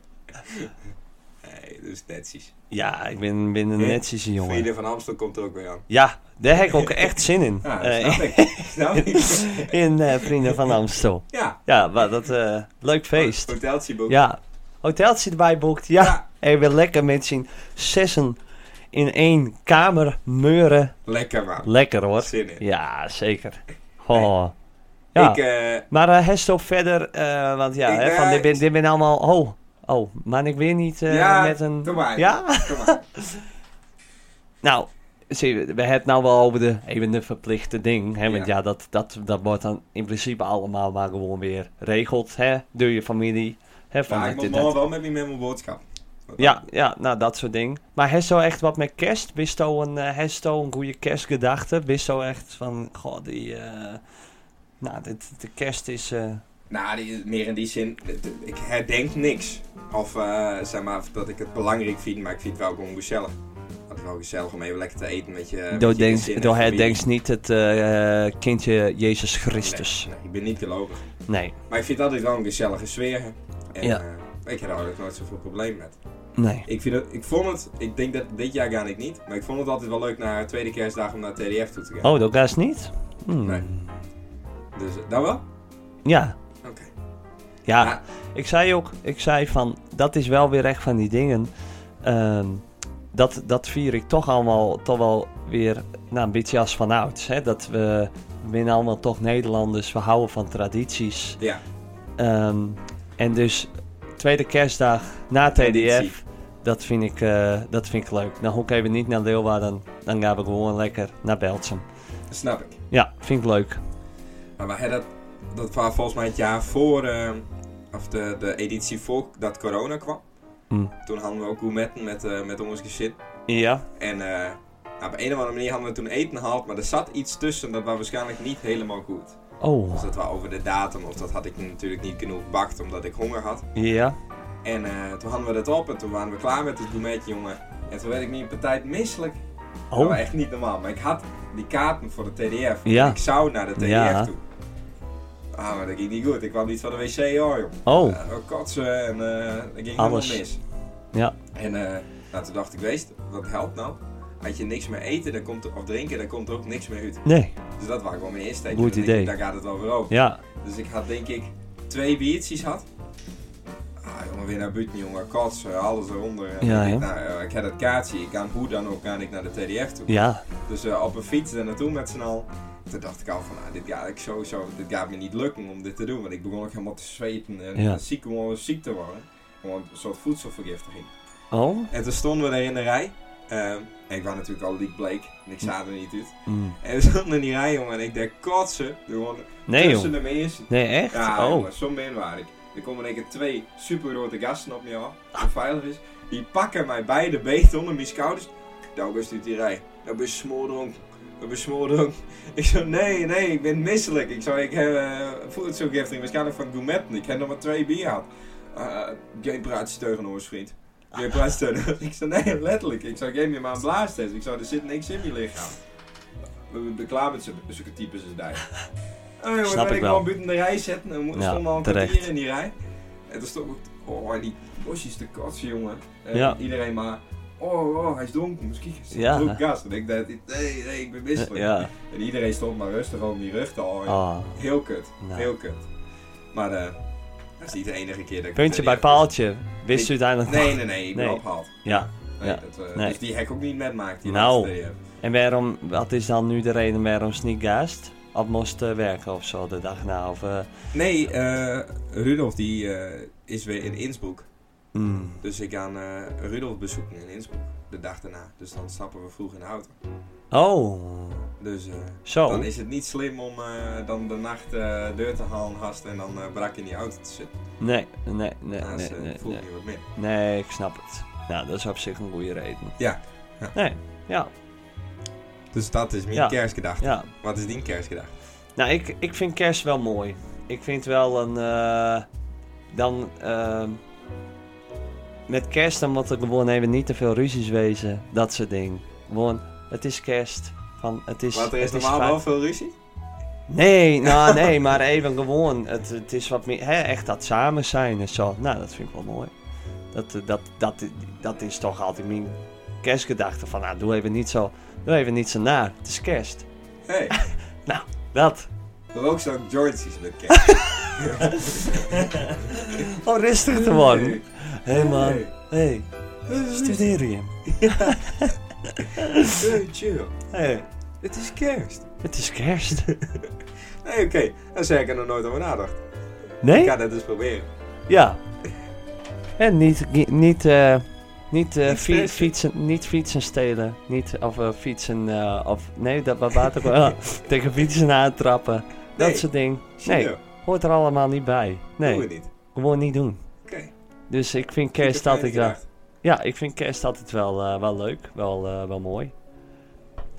Nee, dus netjes.
ja, ik ben, ben een
Hey,
netjes jongen.
Vrienden van Amstel komt er ook weer aan.
Ja, daar heb ik ook echt zin in.
Ja,
Eh,
dat snap ik. snap ik.
in eh, Vrienden van Amstel.
Ja.
Ja, maar dat eh, leuk feest.
Hoteltje boek.
Ja, hoteltje erbij boekt. Ja,
Ja.
en weer lekker met z'n zessen in één kamer meuren.
Lekker man.
Lekker hoor.
Zin in.
Ja, zeker. Oh. Ja.
Ik, eh,
Maar eh Hesto verder, eh, want ja,
Ik,
hè,
eh,
van, dit, ben, dit ben allemaal... Oh, oh, maar ik weer niet eh,
ja,
met een...
doe maar.
Ja?
Doe maar.
Nou, zie, je, we hebben het nou wel over de, even de verplichte ding. Hè? Want
Ja.
ja, dat, dat, dat wordt dan in principe allemaal maar gewoon weer regeld. Hè? Door je familie. Hè? Van
Ja, ik
dat
moet
dit-
morgen
dat-
wel met me met mijn boodschap. Want
ja, ja, nou dat soort dingen. Maar hesto echt wat met kerst? Wist je een, eh, heeft zo een goede kerstgedachte? Wist je echt van, goh, die... eh, nou, dit, de kerst is... eh,
Nou, die is meer in die zin, het- ik herdenk niks. Of eh, zeg maar dat ik het belangrijk vind, maar ik vind het wel gewoon gezellig. Het is wel gezellig om even lekker te eten met je. Eh, met
door
je
denkt-
gezin en
door
familie.
herdenkt niet het eh, eh, kindje Jezus Christus.
Nee, nee, ik ben niet gelovig.
Nee,
Maar ik vind het altijd wel een gezellige sfeer. hè. En
Ja.
eh, ik heb daar ook nooit zoveel probleem met.
nee.
Ik, vind het, ik vond het, ik denk dat dit jaar ga ik niet, maar ik vond het altijd wel leuk na tweede kerstdag om naar TDF toe te gaan.
Oh, dat is niet? Hmm.
Nee. Dus eh, dan wel?
Ja.
Oké.
Ja,
Ja.
ik zei ook, ik zei van, dat is wel weer echt van die dingen. Ehm, dat, dat vier ik toch allemaal, toch wel weer nou, een beetje als vanouds. Hè? Dat we, we zijn allemaal toch Nederlanders, we houden van tradities.
Ja.
Ehm, en dus, tweede kerstdag na
Traditie.
TDF, dat vind, ik, eh, dat vind ik leuk. Dan hoef ik even niet naar Leeuwarden, dan gaan we gewoon lekker naar Beltsum.
Snap ik.
Ja, vind ik leuk.
Maar we hadden, dat was volgens mij het jaar voor, eh, of de, de editie voor dat corona kwam.
Hm.
Toen hadden we ook gourmetten met, eh met ons gezin.
Ja,
En eh, nou, op een of andere manier hadden we toen eten gehaald, maar er zat iets tussen dat was waarschijnlijk niet helemaal goed.
oh,
Of dat was over de datum, of dat had ik natuurlijk niet genoeg bakt omdat ik honger had.
ja,
En eh, toen hadden we dat op en toen waren we klaar met het gourmetje, jongen. En toen werd ik niet een partij misselijk. Dat was
oh,
echt niet normaal. Maar ik had die kaarten voor de TDF.
Ja.
Ik zou naar de TDF
Ja.
toe. Ah, maar dat ging niet goed. Ik kwam niet van de wc hoor, joh.
oh,
Eh, ook kotsen en eh, dat ging
Alles.
helemaal mis.
Ja.
En eh, nou, toen dacht ik, wees, wat helpt nou? Had je niks meer eten dan komt er- of drinken, dan komt er ook niks meer uit.
nee,
Dus dat was gewoon mijn insteek.
Goed
Dan denk
idee.
ik, Daar gaat het wel weer over.
ja.
Dus ik had denk ik twee biertjes had. Ah, jongen, weer naar buiten, jongen. Kotsen, alles eronder. En
Ja,
ik, denk,
hè?
nou, eh, ik had het kaartje. Ik kan hoe dan ook, ga ik naar de TDF toe.
Ja,
Dus eh, op een fiets daar naartoe met z'n al. Toen dacht ik al van, nou, dit gaat ik sowieso, dit gaat me niet lukken om dit te doen. Want ik begon ook helemaal te zweten en
Ja.
ziek, gewoon ziek te worden. Gewoon een soort voedselvergiftiging.
oh,
En toen stonden we daar in de rij. Ehm, en ik was natuurlijk al liek bleek. En ik zag er niet uit.
mm.
En we stonden in die rij, jongen. En ik dacht, kotsen. Gewoon
nee
tussen
joh,
de mensen.
nee echt,
Ja,
oh,
jongen, zo min waren ik. Er komen in één keer twee super grote gasten op me af. Hoe veilig is. Die pakken mij bij de beet onder mijn schouders. Nou, best uit die rij. Nou, ben je smoordronk. Nou, ben je smoordronk. Ik zo, nee, nee, ik ben misselijk. Ik zo, ik heb eh, voedselvergiftiging. Waarschijnlijk van gourmetten. Ik heb nog maar twee bier gehad. Eh, geen praatje tegen ons, vriend. Geen praatje tegen Ik zo, nee, letterlijk. Ik zou geef me maar een blaastest. Ik zo, er zit niks in je lichaam. We zijn klaar met zo'n- zulke types als die. Oh jongen,
Snap
dan ben
ik
ik
wel.
gewoon buiten de rij zetten. Dan mo-
Ja,
stonden al een
terecht.
kwartier in die rij. En toen stond ik, oh die bosjes te katsen jongen. En
Ja.
Iedereen maar, oh, oh hij is donker, misschien is hij
Ja.
een gast. En ik dacht, nee, nee, ik ben misselijk.
ja,
En iedereen stond maar rustig om die rug te houden.
oh,
Heel kut,
Nou.
heel kut. Maar eh, dat is niet de enige keer dat ik...
puntje
die-
bij paaltje, wist
Ik-
u uiteindelijk
Nee, nee, nee, ik ben
Nee.
opgehaald.
Ja,
Nee,
Ja.
dat, eh,
Nee.
Dus die hek ook niet metmaakt. Die
Nou.
laatste, eh,
en waarom, wat is dan nu de reden waarom ze niet gaast? Of moest eh, werken of zo de dag na, of, eh,
Nee, eh, Rudolf die eh, is weer in Innsbruck.
mm.
Dus ik ga eh, Rudolf bezoeken in Innsbruck de dag daarna. Dus dan stappen we vroeg in de auto.
oh,
Dus eh,
zo,
dan is het niet slim om eh, dan de nacht eh, deur te halen, hast en dan eh, brak in die auto te zitten.
nee, nee, nee,
Nee,
nee, nee,
eh, voel ik
nee,
niet wat meer.
nee, ik snap het. Nou, dat is op zich een goede reden.
Ja, ja.
Nee, ja,
Dus dat is mijn
Ja.
kerstgedachte.
ja.
Wat is die kerstgedachte?
Nou, ik, ik vind kerst wel mooi. Ik vind wel een. eh, dan. ehm, met kerst dan moet er gewoon even niet te veel ruzies wezen. Dat soort dingen. Gewoon, het is kerst. Van, het is,
Want er is
het
normaal
fijn.
wel veel ruzie.
Nee, nou nee, maar even gewoon. Het, het is wat meer. Hè, echt dat samen zijn en zo. Nou, dat vind ik wel mooi. Dat, eh, dat, dat, dat is toch altijd mijn kerstgedachte. Van, nou, doe even niet zo. Doe even niet zo naar. Het is kerst.
Hé, hey,
Dat.
dat ook zo'n George's met kerst.
Oh, rustig te worden.
Hey.
Hé man,
Hey.
hé, hey, studeer je?
Hey, chill.
Hey,
Het is kerst.
het is kerst.
Nee, oké. Daar zeg ik er nog nooit over nagedacht. Ik
Nee?
ga dat dus proberen.
Ja. En niet, niet, niet, eh, niet, eh,
Niet
fi-
feesten.
fietsen, niet fietsen stelen. Niet, of eh, fietsen, eh, of nee, dat wat water ah, tegen fietsen aantrappen. Dat
Nee.
soort dingen.
Zie
Nee,
je,
hoort er allemaal niet bij.
Doen
Nee,
we niet.
gewoon niet doen.
Oké.
Dus ik vind kerst
dat
altijd wel, ja, ik vind kerst altijd wel, eh, wel leuk, wel, eh, wel mooi.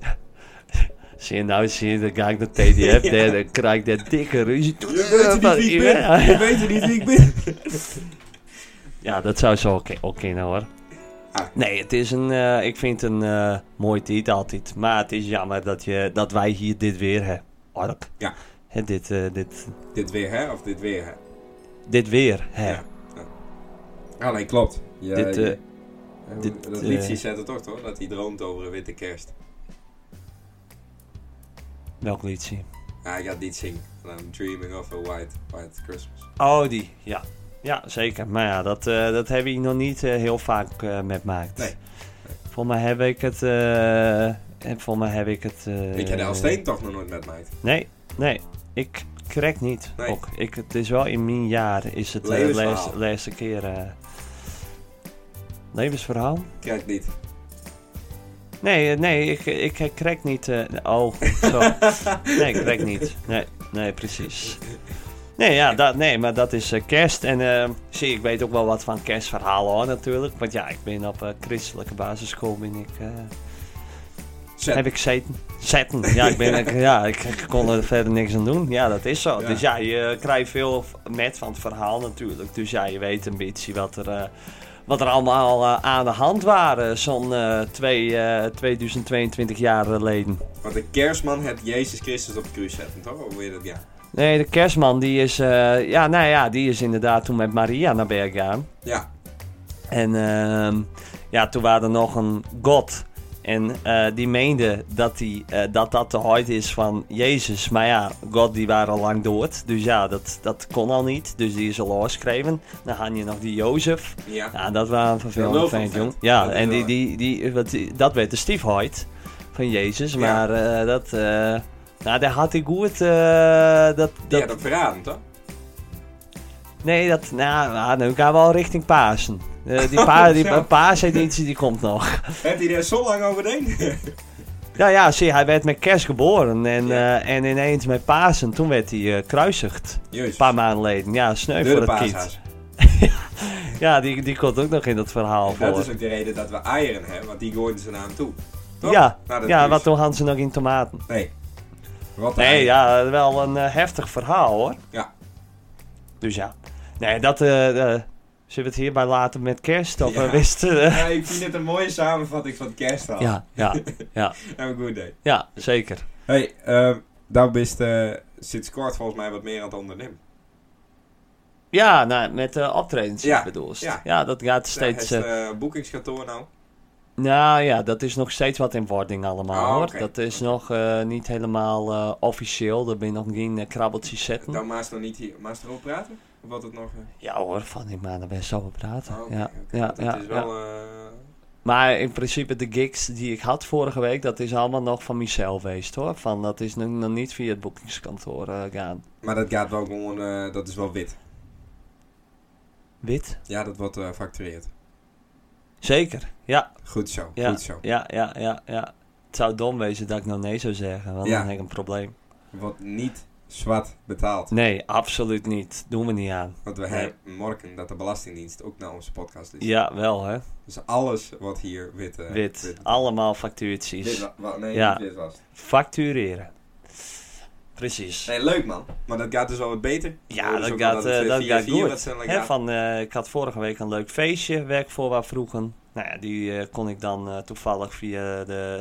zie je nou, zie je, dan ga ik naar TDF,
Ja.
daar- dan krijg ik dat dikke ruzie.
Je weet niet wie ik ben.
Ja,
Je weet niet wie ik ben.
Ja, dat zou zo oké oké nou hoor.
Ah.
Nee, het is een, eh, ik vind het een eh mooi tijd altijd. Maar het is jammer dat, je, dat wij hier dit weer hebben. Ark.
Ja.
Hè, dit, eh, dit,
Dit weer, hè? Of dit weer, hè?
dit weer. Hè.
Ja. Ah, nee, klopt. Ja,
Dit,
je-
eh,
eh,
dit,
dat
eh,
liedje zegt het toch, toch? Dat hij droomt over een witte kerst.
Welk liedje?
Ah, ik ga dit zingen. I'm dreaming of a white, white Christmas.
Oh, die. Ja. Ja, zeker. Maar ja, dat, eh, dat heb ik nog niet eh, heel vaak eh met maakt.
Nee.
Volgens mij heb ik het... eh, en volgens mij heb ik het... eh,
Weet jij de Elsteen toch nog nooit met mij?
Nee, nee. Ik krek niet.
Nee.
Ook. Ik, het is wel in mijn jaar is het de
Levensverhaal.
laatste, laatste keer... eh, levensverhaal?
Kijk niet.
Nee, eh, nee, ik, ik krek niet. eh, oh, zo. Nee, ik krek niet. Nee, nee, precies. Nee, ja, dat, nee, maar dat is eh, kerst. En eh, zie, ik weet ook wel wat van kerstverhalen hoor, natuurlijk. Want ja, ik ben op eh, christelijke basisschool ben ik, eh,
Zet.
heb ik zeten. Zetten. Ja, ik, ben, ik, ja ik, ik kon er verder niks aan doen. Ja, dat is zo.
Ja.
Dus ja, je krijgt veel v- met van het verhaal natuurlijk. Dus ja, je weet een beetje wat er, eh, wat er allemaal eh, aan de hand waren. Zo'n eh, twee, eh, 2022 jaar geleden.
Want de kerstman het Jezus Christus op de kruis zetten, toch? Of weet je dat? Ja.
Nee, de kerstman die is, eh, ja, nou ja, die is inderdaad toen met Maria naar Berg gegaan.
Ja.
En ehm, ja, toen waren er nog een god. En eh, die meende dat, die, eh, dat dat de huid is van Jezus. Maar ja, God die waren al lang dood. Dus ja, dat, dat kon al niet. Dus die is al losgeschreven. Dan had je nog die Jozef.
Ja.
Ja, dat waren
Ja,
vervelende
wel van
vent,
vet.
jong. Ja,
Dat is
en die,
waar.
die, die, wat die- dat werd de stiefheid van Jezus. Maar eh, dat... eh, nou, daar had ik goed... eh, dat,
Die
dat,
had hem verraden, toch?
Nee, dat, nou, nou, nu gaan we al richting Pasen. Eh, die pa, die
Zo.
paaseditie die komt nog.
Heeft hij daar zo lang over deen?
Ja, ja, zie, hij werd met kerst geboren en,
Ja.
eh, en ineens met Pasen, toen werd hij eh, kruisigd.
Jezus.
Een paar maanden geleden, ja, sneu
Door de
voor het kind.
paashaas.
Ja, die, die komt ook nog in dat verhaal
Dat
voor.
is ook de reden dat we eieren hebben, want die gooiden ze naar hem toe. Toch?
ja,
Naar dat
ja
kruis.
wat toen hadden ze nog in tomaten.
Nee. Wat
Nee,
eieren.
ja, wel een eh, heftig verhaal hoor.
Ja.
Dus ja, nee, dat, eh eh, zullen we het hierbij laten met kerst? Of
Ja.
eh, wist eh,
Ja, ik vind dit een mooie samenvatting van het kerstverhaal.
ja, ja, ja,
Have a good day.
ja, zeker.
Hey, ehm daar bist eh sinds kort volgens mij wat meer aan het ondernemen.
Ja, nou, met eh, optredens
Ja,
bedoelst. Ja.
ja.
dat gaat steeds...
Ja,
eh
het eh, boekingskantoor nou.
nou ja, dat is nog steeds wat in wording allemaal,
Ah,
hoor.
oké.
Dat is nog eh, niet helemaal eh, officieel. Daar ben je nog geen eh, krabbeltjes zetten.
Dan maast nog niet hier. Maast erover praten? Of wat het nog? eh?
Ja hoor, van die maanden ben je zo over praten.
Ah, oké,
ja,
oké.
ja,
Want
ja,
Het is
ja.
wel... eh,
Maar in principe de gigs die ik had vorige week, dat is allemaal nog van mezelf geweest, hoor. Van, dat is nog, nog niet via het boekingskantoor eh, gaan.
maar dat gaat wel gewoon... eh, dat is wel wit.
Wit?
Ja, dat wordt eh factureerd.
Zeker, ja.
Goed zo,
Ja.
goed zo.
Ja, ja, ja, ja. Het zou dom wezen dat ik nou nee zou zeggen, want
Ja.
dan heb ik een probleem.
Wordt niet zwart betaald.
Nee, absoluut niet. Doen we niet aan.
Want we hebben morgen dat de Belastingdienst ook naar onze podcast is.
Ja, wel hè.
Dus alles wat hier wit... eh,
Wit. Allemaal
Dit
factuurtjes.
wa- wa- nee,
Ja.
niet wit was. het.
Factureren. Precies.
Nee, leuk man. Maar dat gaat dus wel wat beter.
Ja,
Dus
dat
ook wel
gaat,
het,
eh,
eh,
dat
via
gaat
vier
goed.
wat zijn
Hè,
lekker aan.
van, eh, ik had vorige week een leuk feestje, werk voor waar vroegen. Nou ja, die eh, kon ik dan eh, toevallig via, de,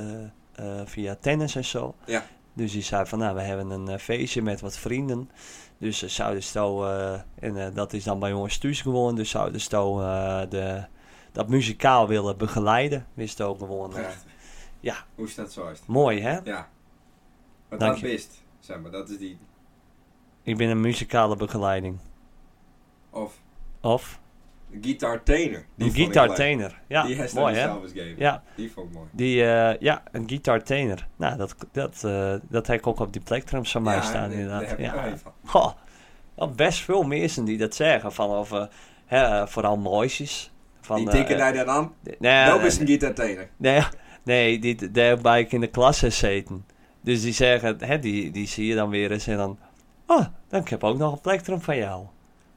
eh, via tennis en zo.
Ja.
Dus die zei van, nou, we hebben een eh, feestje met wat vrienden. Dus ze zouden zo, eh, en eh, dat is dan bij ons thuis gewoon, dus zouden ze zo, eh, de, dat muzikaal willen begeleiden. Wist ook gewoon. eh,
Prachtig.
ja.
Hoe is dat zo? is het?
Mooi hè?
Ja. Wat
Dank
dat
je.
wist, zeg maar. Dat is die...
Ik ben een muzikale begeleiding.
Of...
Of?
Guitar Tainer. Die
Een
vond ik
guitar
leuk.
tainer. Ja,
die hashtag
mooi
is
hè?
zelf eens geven.
Ja,
Die vond ik mooi.
die, eh, ja, een guitar tainer. Nou, dat, dat, eh, dat heb ik ook op die plektrums van mij
Ja,
staan
daar- daar
inderdaad.
heb ik
Ja.
er een van.
Goh, wel best veel mensen die dat zeggen. Van of, eh, hè, eh, vooral mooisjes. Van,
Die
eh,
tikken
eh,
hij dan aan.
nee,
Dat
nee,
is een Guitar Tainer.
Nee, nee die, daarbij ik in de klas heb zeten. Dus die zeggen, hè, die, die zie je dan weer eens en dan... Oh, dan heb ik ook nog een plektrum van jou.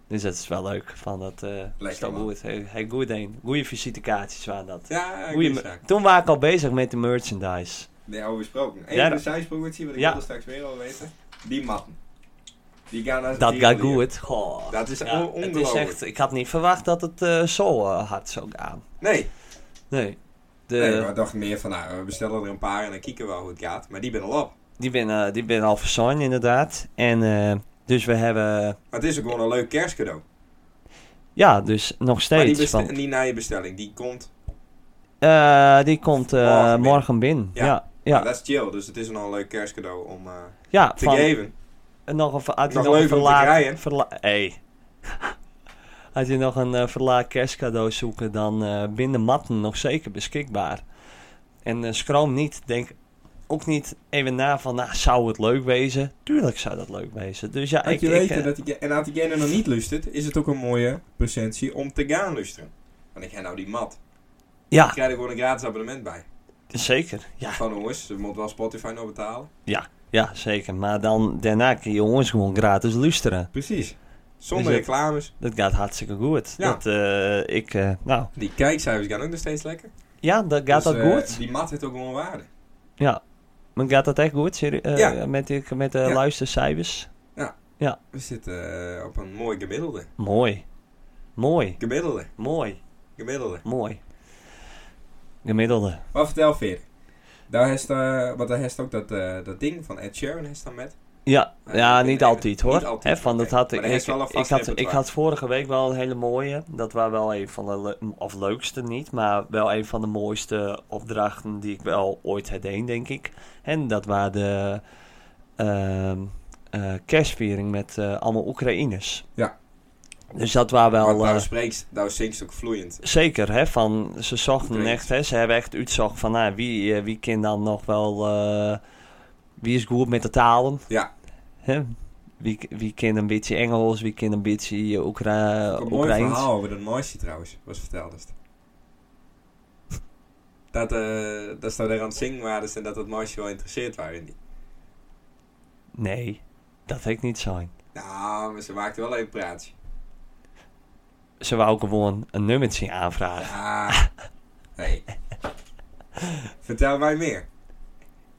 Dus dat is wel leuk. Van dat, eh is dat
man.
goed. Hey, hey, goed een. Goeie visitekaartjes waren dat.
Ja,
Goeie
goeie
me-
zaak.
Toen waren ik al bezig met de merchandise.
Nee, over gesproken. Eén
Ja,
ja,
dat-
zijsprongetje, wat ik
Ja.
wilde straks weer al weten. Die matten. Die gaan naar
Dat
die
gaat
leren.
goed. Goh.
Dat is on-
het is
ongelooflijk.
echt, ik had niet verwacht dat het eh, zo eh, hard zou gaan.
Nee,
Nee. De,
nee maar ik dacht meer van nou, we bestellen er een paar en dan kieken we wel hoe het gaat. Maar die ben al op.
die, ben, eh, die ben al verzonnen inderdaad. En eh, dus we hebben...
Maar het is ook gewoon een leuk kerstcadeau.
Ja, dus nog
Maar die,
steeds.
beste-
van,
die na je bestelling, die komt.
Eh, die komt eh,
Morgen binnen.
morgen binnen.
Ja.
Ja,
Ja.
ja.
Dat is chill, dus het is een al leuk kerstcadeau om eh,
ja
te
van,
geven.
en nog een, ver- had je
Nog
nog een
leuk om te
verlaag...
krijgen.
Verla hey. Had je nog een eh, verlaag kerstcadeau zoeken, dan eh binnen matten nog zeker beschikbaar. En eh, schroom niet, denk ook niet even na van, nou, zou het leuk wezen? Tuurlijk zou dat leuk wezen. Dus ja,
Had
ik...
je
ik,
weten
eh,
dat die, en had diegene nog niet lustert, is het ook een mooie presentie om te gaan lusteren. Want ik ga nou die mat. Ik
ja,
krijg er gewoon een gratis abonnement bij.
zeker. Ja,
Van jongens, ze moeten wel Spotify nou betalen.
ja, zeker. Maar dan daarna kun je jongens gewoon gratis luisteren.
Precies. Zonder
Dus het-
reclames.
Dat gaat hartstikke goed.
Ja.
Dat, eh, ik, eh, nou,
Die kijkcijfers gaan ook nog steeds lekker.
Ja, dat gaat
Dus,
dat
eh,
goed.
Die mat heeft ook gewoon waarde.
Ja. Maar gaat dat echt goed serie- eh,
Ja.
met, die- met de
Ja.
luistercijfers?
We zitten eh, op een mooi gemiddelde.
Mooi. Mooi.
Gemiddelde.
Mooi.
Gemiddelde.
Mooi. Gemiddelde.
Maar vertel verder. Daar heeft, eh want daar heeft ook dat, eh, dat ding van Ed Sheeran heeft dan met.
Ja,
Ah,
ja
ik ben
niet
er-
altijd hoor.
niet altijd,
Hè, van, dat
oké.
had ik,
Maar er
ik,
is wel een
ik,
vast
had, ik
repertoire.
had vorige week wel een hele mooie. Dat was wel een van de le- of leukste niet, maar wel een van de mooiste opdrachten die ik wel ooit had deed, denk ik. En dat waren de ehm eh, kerstviering met eh, allemaal Oekraïners.
Ja.
Dus dat was wel.
Want
eh,
daar spreekt, daar zingt ze ook vloeiend.
Zeker, hè, van, ze zochten
Oekraïns.
echt, hè, ze hebben echt uitzocht van nou, wie, eh, wie kan dan nog wel, eh, wie is goed met de talen.
Ja.
Hè? Wie, wie kan een beetje Engels, wie kan een beetje eh, Oekra
Ook een mooi
Oekraïns.
verhaal over dat mooisje trouwens, was verteld. is. Dat, eh dat ze daar aan het zingen waren en dat dat mooisje wel interesseerd waren in die.
Nee, dat heeft niet zijn.
Nou, maar ze maakte wel even praatje.
Ze wou gewoon een nummertje aanvragen.
Ah. Hey. Vertel mij meer.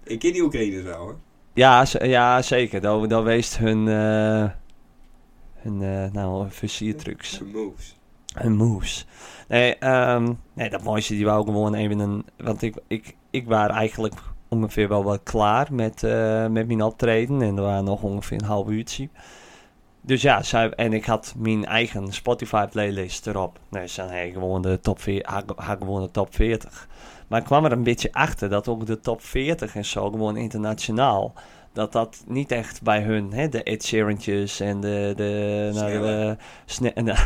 Ik ken die Oekraïners wel hoor.
Ja, ze- ja zeker, dan, dan wees hun, eh hun eh, nou, versiertrucs.
Ze moves.
Hun moves. Nee, ehm, nee dat mooiste die wou gewoon even een... Want ik, ik, ik was eigenlijk ongeveer wel wat klaar met, eh, met mijn optreden. En er waren nog ongeveer een half uurtje. Dus ja, zij, en ik had mijn eigen Spotify playlist erop. Dus dan had ik gewoon de top, veer- had, ik- had ik gewoon de top 40. Maar ik kwam er een beetje achter dat ook de top 40 en zo, gewoon internationaal... Dat dat niet echt bij hun, hè, de Ed Sheerantjes en de... de, nou,
Snelle.
de sne- nou,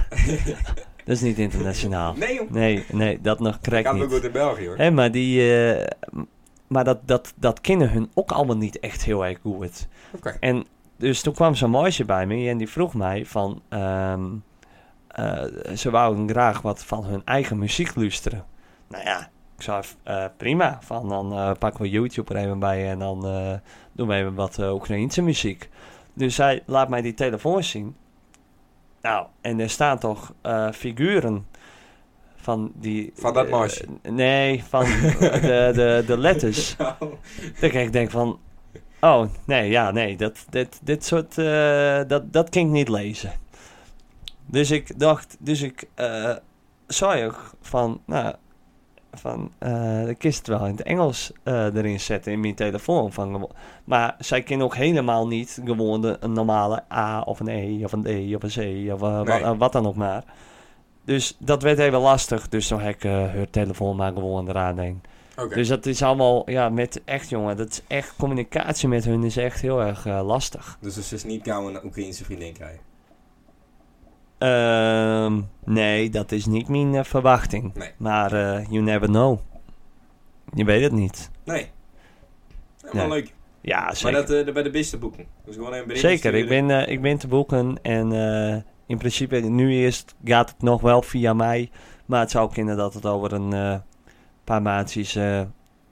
dat is niet internationaal.
Nee joh.
Nee, nee, dat nog
Ik
krijg
kan ook
niet.
goed in België hoor.
Hè, maar die, eh, m- maar dat, dat, dat kennen hun ook allemaal niet echt heel erg goed.
Oké.
En dus toen kwam zo'n meisje bij me en die vroeg mij van, ehm, eh, ze wouden graag wat van hun eigen muziek luisteren. Nou ja, ik zei eh, prima, van dan eh, pakken we YouTube er even bij en dan eh, doen we even wat eh Oekraïense muziek. Dus zij laat mij die telefoon zien. Nou, en er staan toch eh, figuren van die...
Van dat
eh,
marsje.
nee, van de, de, de letters. Dat ik denk van... Oh, nee, ja, nee. Dat, dit, dit soort... eh, dat, dat kan ik niet lezen. Dus ik dacht... Dus ik eh zei ook van... Nou, van... eh ik is het wel in het Engels eh, erin zetten in mijn telefoon. Van, gewo- maar zij kan ook helemaal niet gewoon de- een normale A of een E of een D of een C of eh, wa-
Nee.
eh, wat dan ook maar. Dus dat werd even lastig. Dus toen heb ik eh, haar telefoon maar gewoon eraan heen.
Oké.
Dus dat is allemaal, ja, met echt jongen, dat is echt communicatie met hun is echt heel erg eh, lastig.
Dus ze is niet gauw een Oekraïense vriendin krijgen.
Ehm, nee, dat is niet mijn eh, verwachting.
Nee.
Maar eh, you never know. Je weet het niet.
Nee. Helemaal
Nee,
leuk.
Ja, zeker.
Maar dat eh, bij de beste boeken. Dus gewoon een berichtje
Zeker, ik
sturen.
ben, eh, ik ben te boeken en eh, in principe nu eerst gaat het nog wel via mij. Maar het zou kunnen dat het over een eh, paar maandjes eh,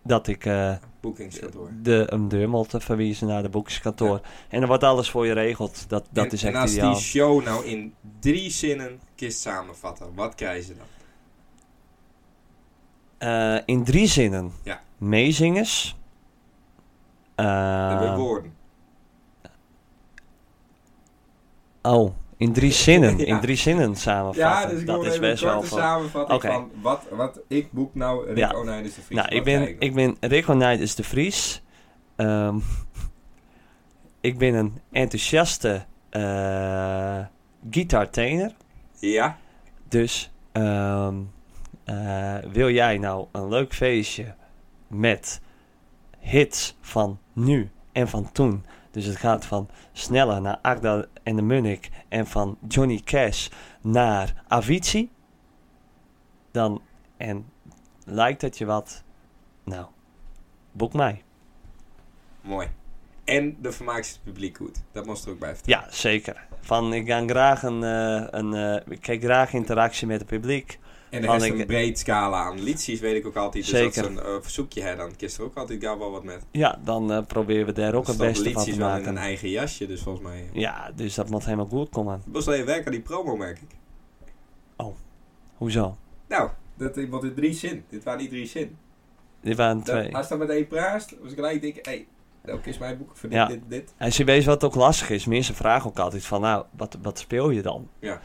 dat ik eh,
Boekingskantoor.
de een deur moet verwijzen naar de boekingskantoor. En dan wordt alles voor je regeld. Dat, dat
En-
is
En als
echt ideaal.
die show nou in drie zinnen kist samenvatten, wat krijgen ze dan?
Eh, in drie zinnen.
Ja.
Meezingers.
Dat
Eh,
we woorden.
oh, in drie zinnen.
Ja.
In drie zinnen samenvatten.
Ja, dus ik wil
dat is
even
best
een
wel
korte
veel.
samenvatting
Oké.
van wat, wat ik boek nou Rick
Ja.
Onijnis de Vries.
Nou,
Wat
ik
krijg
ben,
ik
ik ben Rico Nijders de Vries. Ehm, ik ben een enthousiaste eh gitaartener.
dan? Ja,
Dus ehm, eh, wil jij nou een leuk feestje met hits van nu en van toen? Dus het gaat van Sneller naar Agda en de Munnik en van Johnny Cash naar Avicii. Dan, en lijkt het je wat? Nou, boek mij.
mooi. En de vermaakt het publiek goed. Dat moest er ook bij vertellen.
Ja, zeker. Van ik ga graag een, eh, een eh, ik kijk graag interactie met het publiek.
En er
Van
is
ik-
een breed scala aan liedjes, weet ik ook altijd. Dus
Zeker.
als ze een eh, verzoekje hebben, dan kist er ook altijd gauw wel wat met.
Ja, dan eh, proberen we daar ook
Er
het
staan
beste van
liedjes
te
wel in een
maken.
eigen jasje, dus volgens mij...
Ja, dus dat moet helemaal goed komen.
Bos je werk aan die promo, merk ik.
Hoezo?
Nou, dat eh, want in drie zin. Dit waren niet drie zin.
Dit waren
Dat-
twee.
Als dat meteen praast, was ik gelijk denk ik, hé, hey, ook is mijn boek voor dit,
Ja.
dit, dit.
En ze weet wat ook lastig is. Mensen vragen ook altijd van, nou, wat, wat speel je dan?
Ja.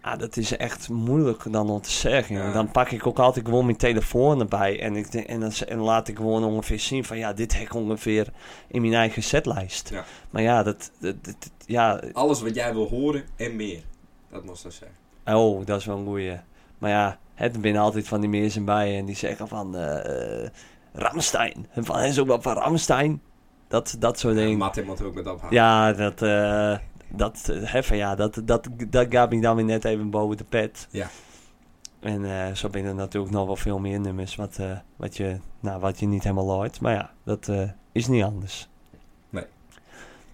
Ah, dat is echt moeilijk dan om te zeggen.
Ja.
Dan pak ik ook altijd gewoon mijn telefoon erbij. En, ik, denk- en, dan, en laat ik gewoon ongeveer zien van, ja, dit heb ik ongeveer in mijn eigen setlijst.
Ja.
Maar ja, dat, dat, dat- dat- ja,
Alles wat jij wil horen en meer. Dat moest dat zijn.
oh, dat is wel een goeie. Maar ja, het binnen altijd van die mensen bij en die zeggen van, eh eh, Ramstein. En van, is ook wat van Ramstein. Dat, dat soort dingen.
Matt moet er ook met ophalen.
Ja, dat, eh dat, eh, hè, van ja, dat, dat, dat gaat me dan weer net even boven de pet.
Ja.
En eh, zo binnen natuurlijk nog wel veel meer nummers wat, eh, wat, je, nou, wat je niet helemaal hoort. Maar ja, dat eh, is niet anders.
Nee.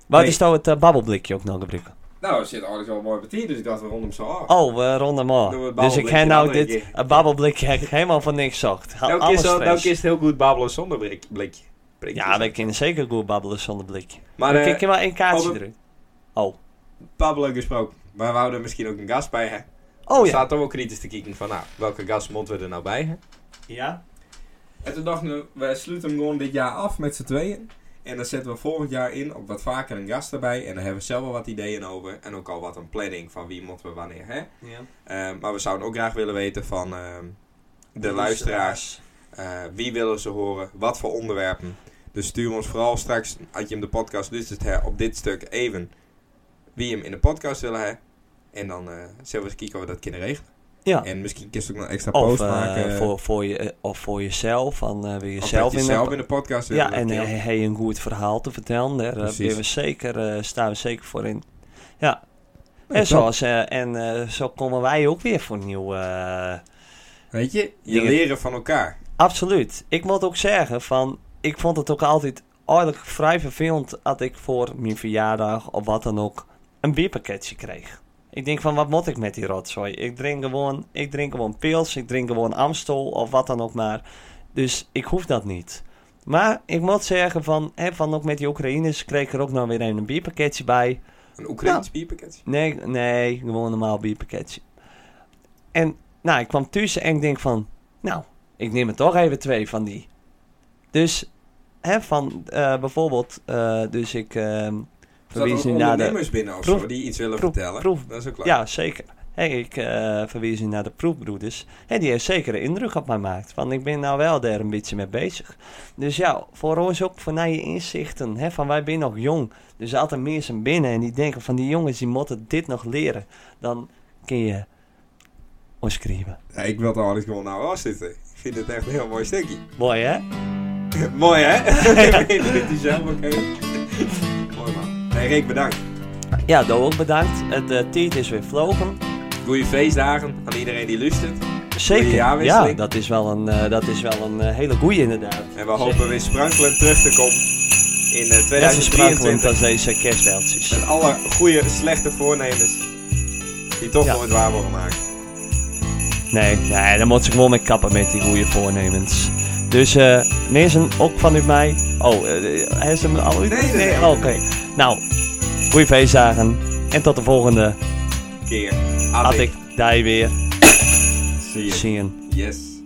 Wat
Nee.
is nou het eh, babbelblikje ook nog gebruiken?
Nou, er zit alles wel mooi op hier, dus ik dacht we rondom zo af.
Oh, we ronden hem
Doen we
af.
het
Dus ik
babbelblikje
heb nou
een andere
dit
keer.
een babbelblikje heb ik helemaal van niks zocht. Ha-
Elke keer,
Alles
zo, elke keer
fresh.
is het heel goed babbelen zonder blik, blikje. Prikjes.
Ja, we kunnen zeker goed babbelen zonder blikje.
maar
Maar
eh,
kijk je maar één kaartje
over-
erin. Oh.
Pablo gesproken. Maar we houden misschien ook een gast bij, hè?
Oh
Er
ja.
staat toch wel kritisch te kijken van, nou, welke gast moeten we er nou bij, hè?
Ja.
En toen dachten we, we sluiten hem gewoon dit jaar af met z'n tweeën. En dan zetten we volgend jaar in op wat vaker een gast erbij. En dan hebben we zelf wel wat ideeën over. En ook al wat een planning van wie moeten we wanneer, hè?
ja.
Eh, maar we zouden ook graag willen weten van ehm, de luisteraars. Eh, wie willen ze horen? Wat voor onderwerpen? Dus stuur ons vooral straks, als je hem de podcast luistert, hè, op dit stuk even wie hem in de podcast willen hè. En dan eh zullen we eens kijken of we dat kunnen regelen.
Ja.
En misschien kun je ook nog een extra
Of,
post
eh,
maken. eh,
voor, voor je, eh, of voor jezelf, van eh wil je
of
zelf
dat je
in
zelf
de-
in de podcast wil.
Ja,
dat
en eh,
kan.
hij hij een goed verhaal te vertellen. Daar eh,
Precies.
ben we zeker, eh, staan we zeker voor in. Ja.
Nee,
en
top.
zoals, eh, en eh, zo komen wij ook weer voor nieuw. eh,
Weet je, je
dingen-
leren van elkaar.
absoluut. Ik moet ook zeggen van, ik vond het ook altijd eigenlijk vrij vervelend dat ik voor mijn verjaardag of wat dan ook een bierpakketje kreeg. Ik denk van, wat moet ik met die rotzooi? Ik drink gewoon, ik drink gewoon pils, ik drink gewoon Amstel of wat dan ook maar. Dus ik hoef dat niet. Maar ik moet zeggen van, hè, van ook met die Oekraïners kreeg ik er ook nog weer een bierpakketje bij.
Een Oekraïns bierpakket.
Nee, nee, gewoon een normaal bierpakketje. En nou, ik kwam thuis en ik denk van, nou, ik neem er toch even twee van die. Dus, hè, van eh, bijvoorbeeld, eh, dus ik ehm
Er
verwees
zaten
nu
ook
naar de...
ondernemers binnen of
eh, proef-
zo die iets willen
proef-
vertellen.
proef-
dat is ook leuk.
Ja, zeker. Hé, ik eh verwees nu naar de proefbroeders. En die heeft zeker een indruk op mij gemaakt. Want ik ben nou wel daar een beetje mee bezig. Dus ja, voor ons ook voor naar je inzichten. Hè, van wij zijn nog jong. Dus altijd mensen binnen. En die denken van die jongens die moeten dit nog leren. Dan kun je ons schrijven.
Ja, ik wil het eigenlijk gewoon nou afzitten. Ik vind het echt een heel mooi stukje.
Mooi hè?
Mooi hè? Ik vind die zelf ook heel- Mooi man. Hey Rick, bedankt.
Ja, Doe ook bedankt. Het eh tijd is weer vlogen.
goede feestdagen aan iedereen die luistert.
Zeker.
jaarwisseling.
Ja, dat is wel een, eh, dat is wel een eh, hele goeie inderdaad.
En we hopen weer sprankelend terug te komen in eh,
Even sprankelend
2023.
als deze kerstbeltjes.
Met alle goede, slechte voornemens die toch
Ja.
nooit waar worden gemaakt.
Nee, nee, dan moet ze gewoon mee kappen met die goede voornemens. Dus eh mensen, ook vanuit mij. Oh, eh, hij is hem al uit?
Nee, nee, nee.
Oké. Nou, goeie feestdagen. En tot de volgende.
Keer.
Had ik daar weer
Zie je.
zien.
Yes.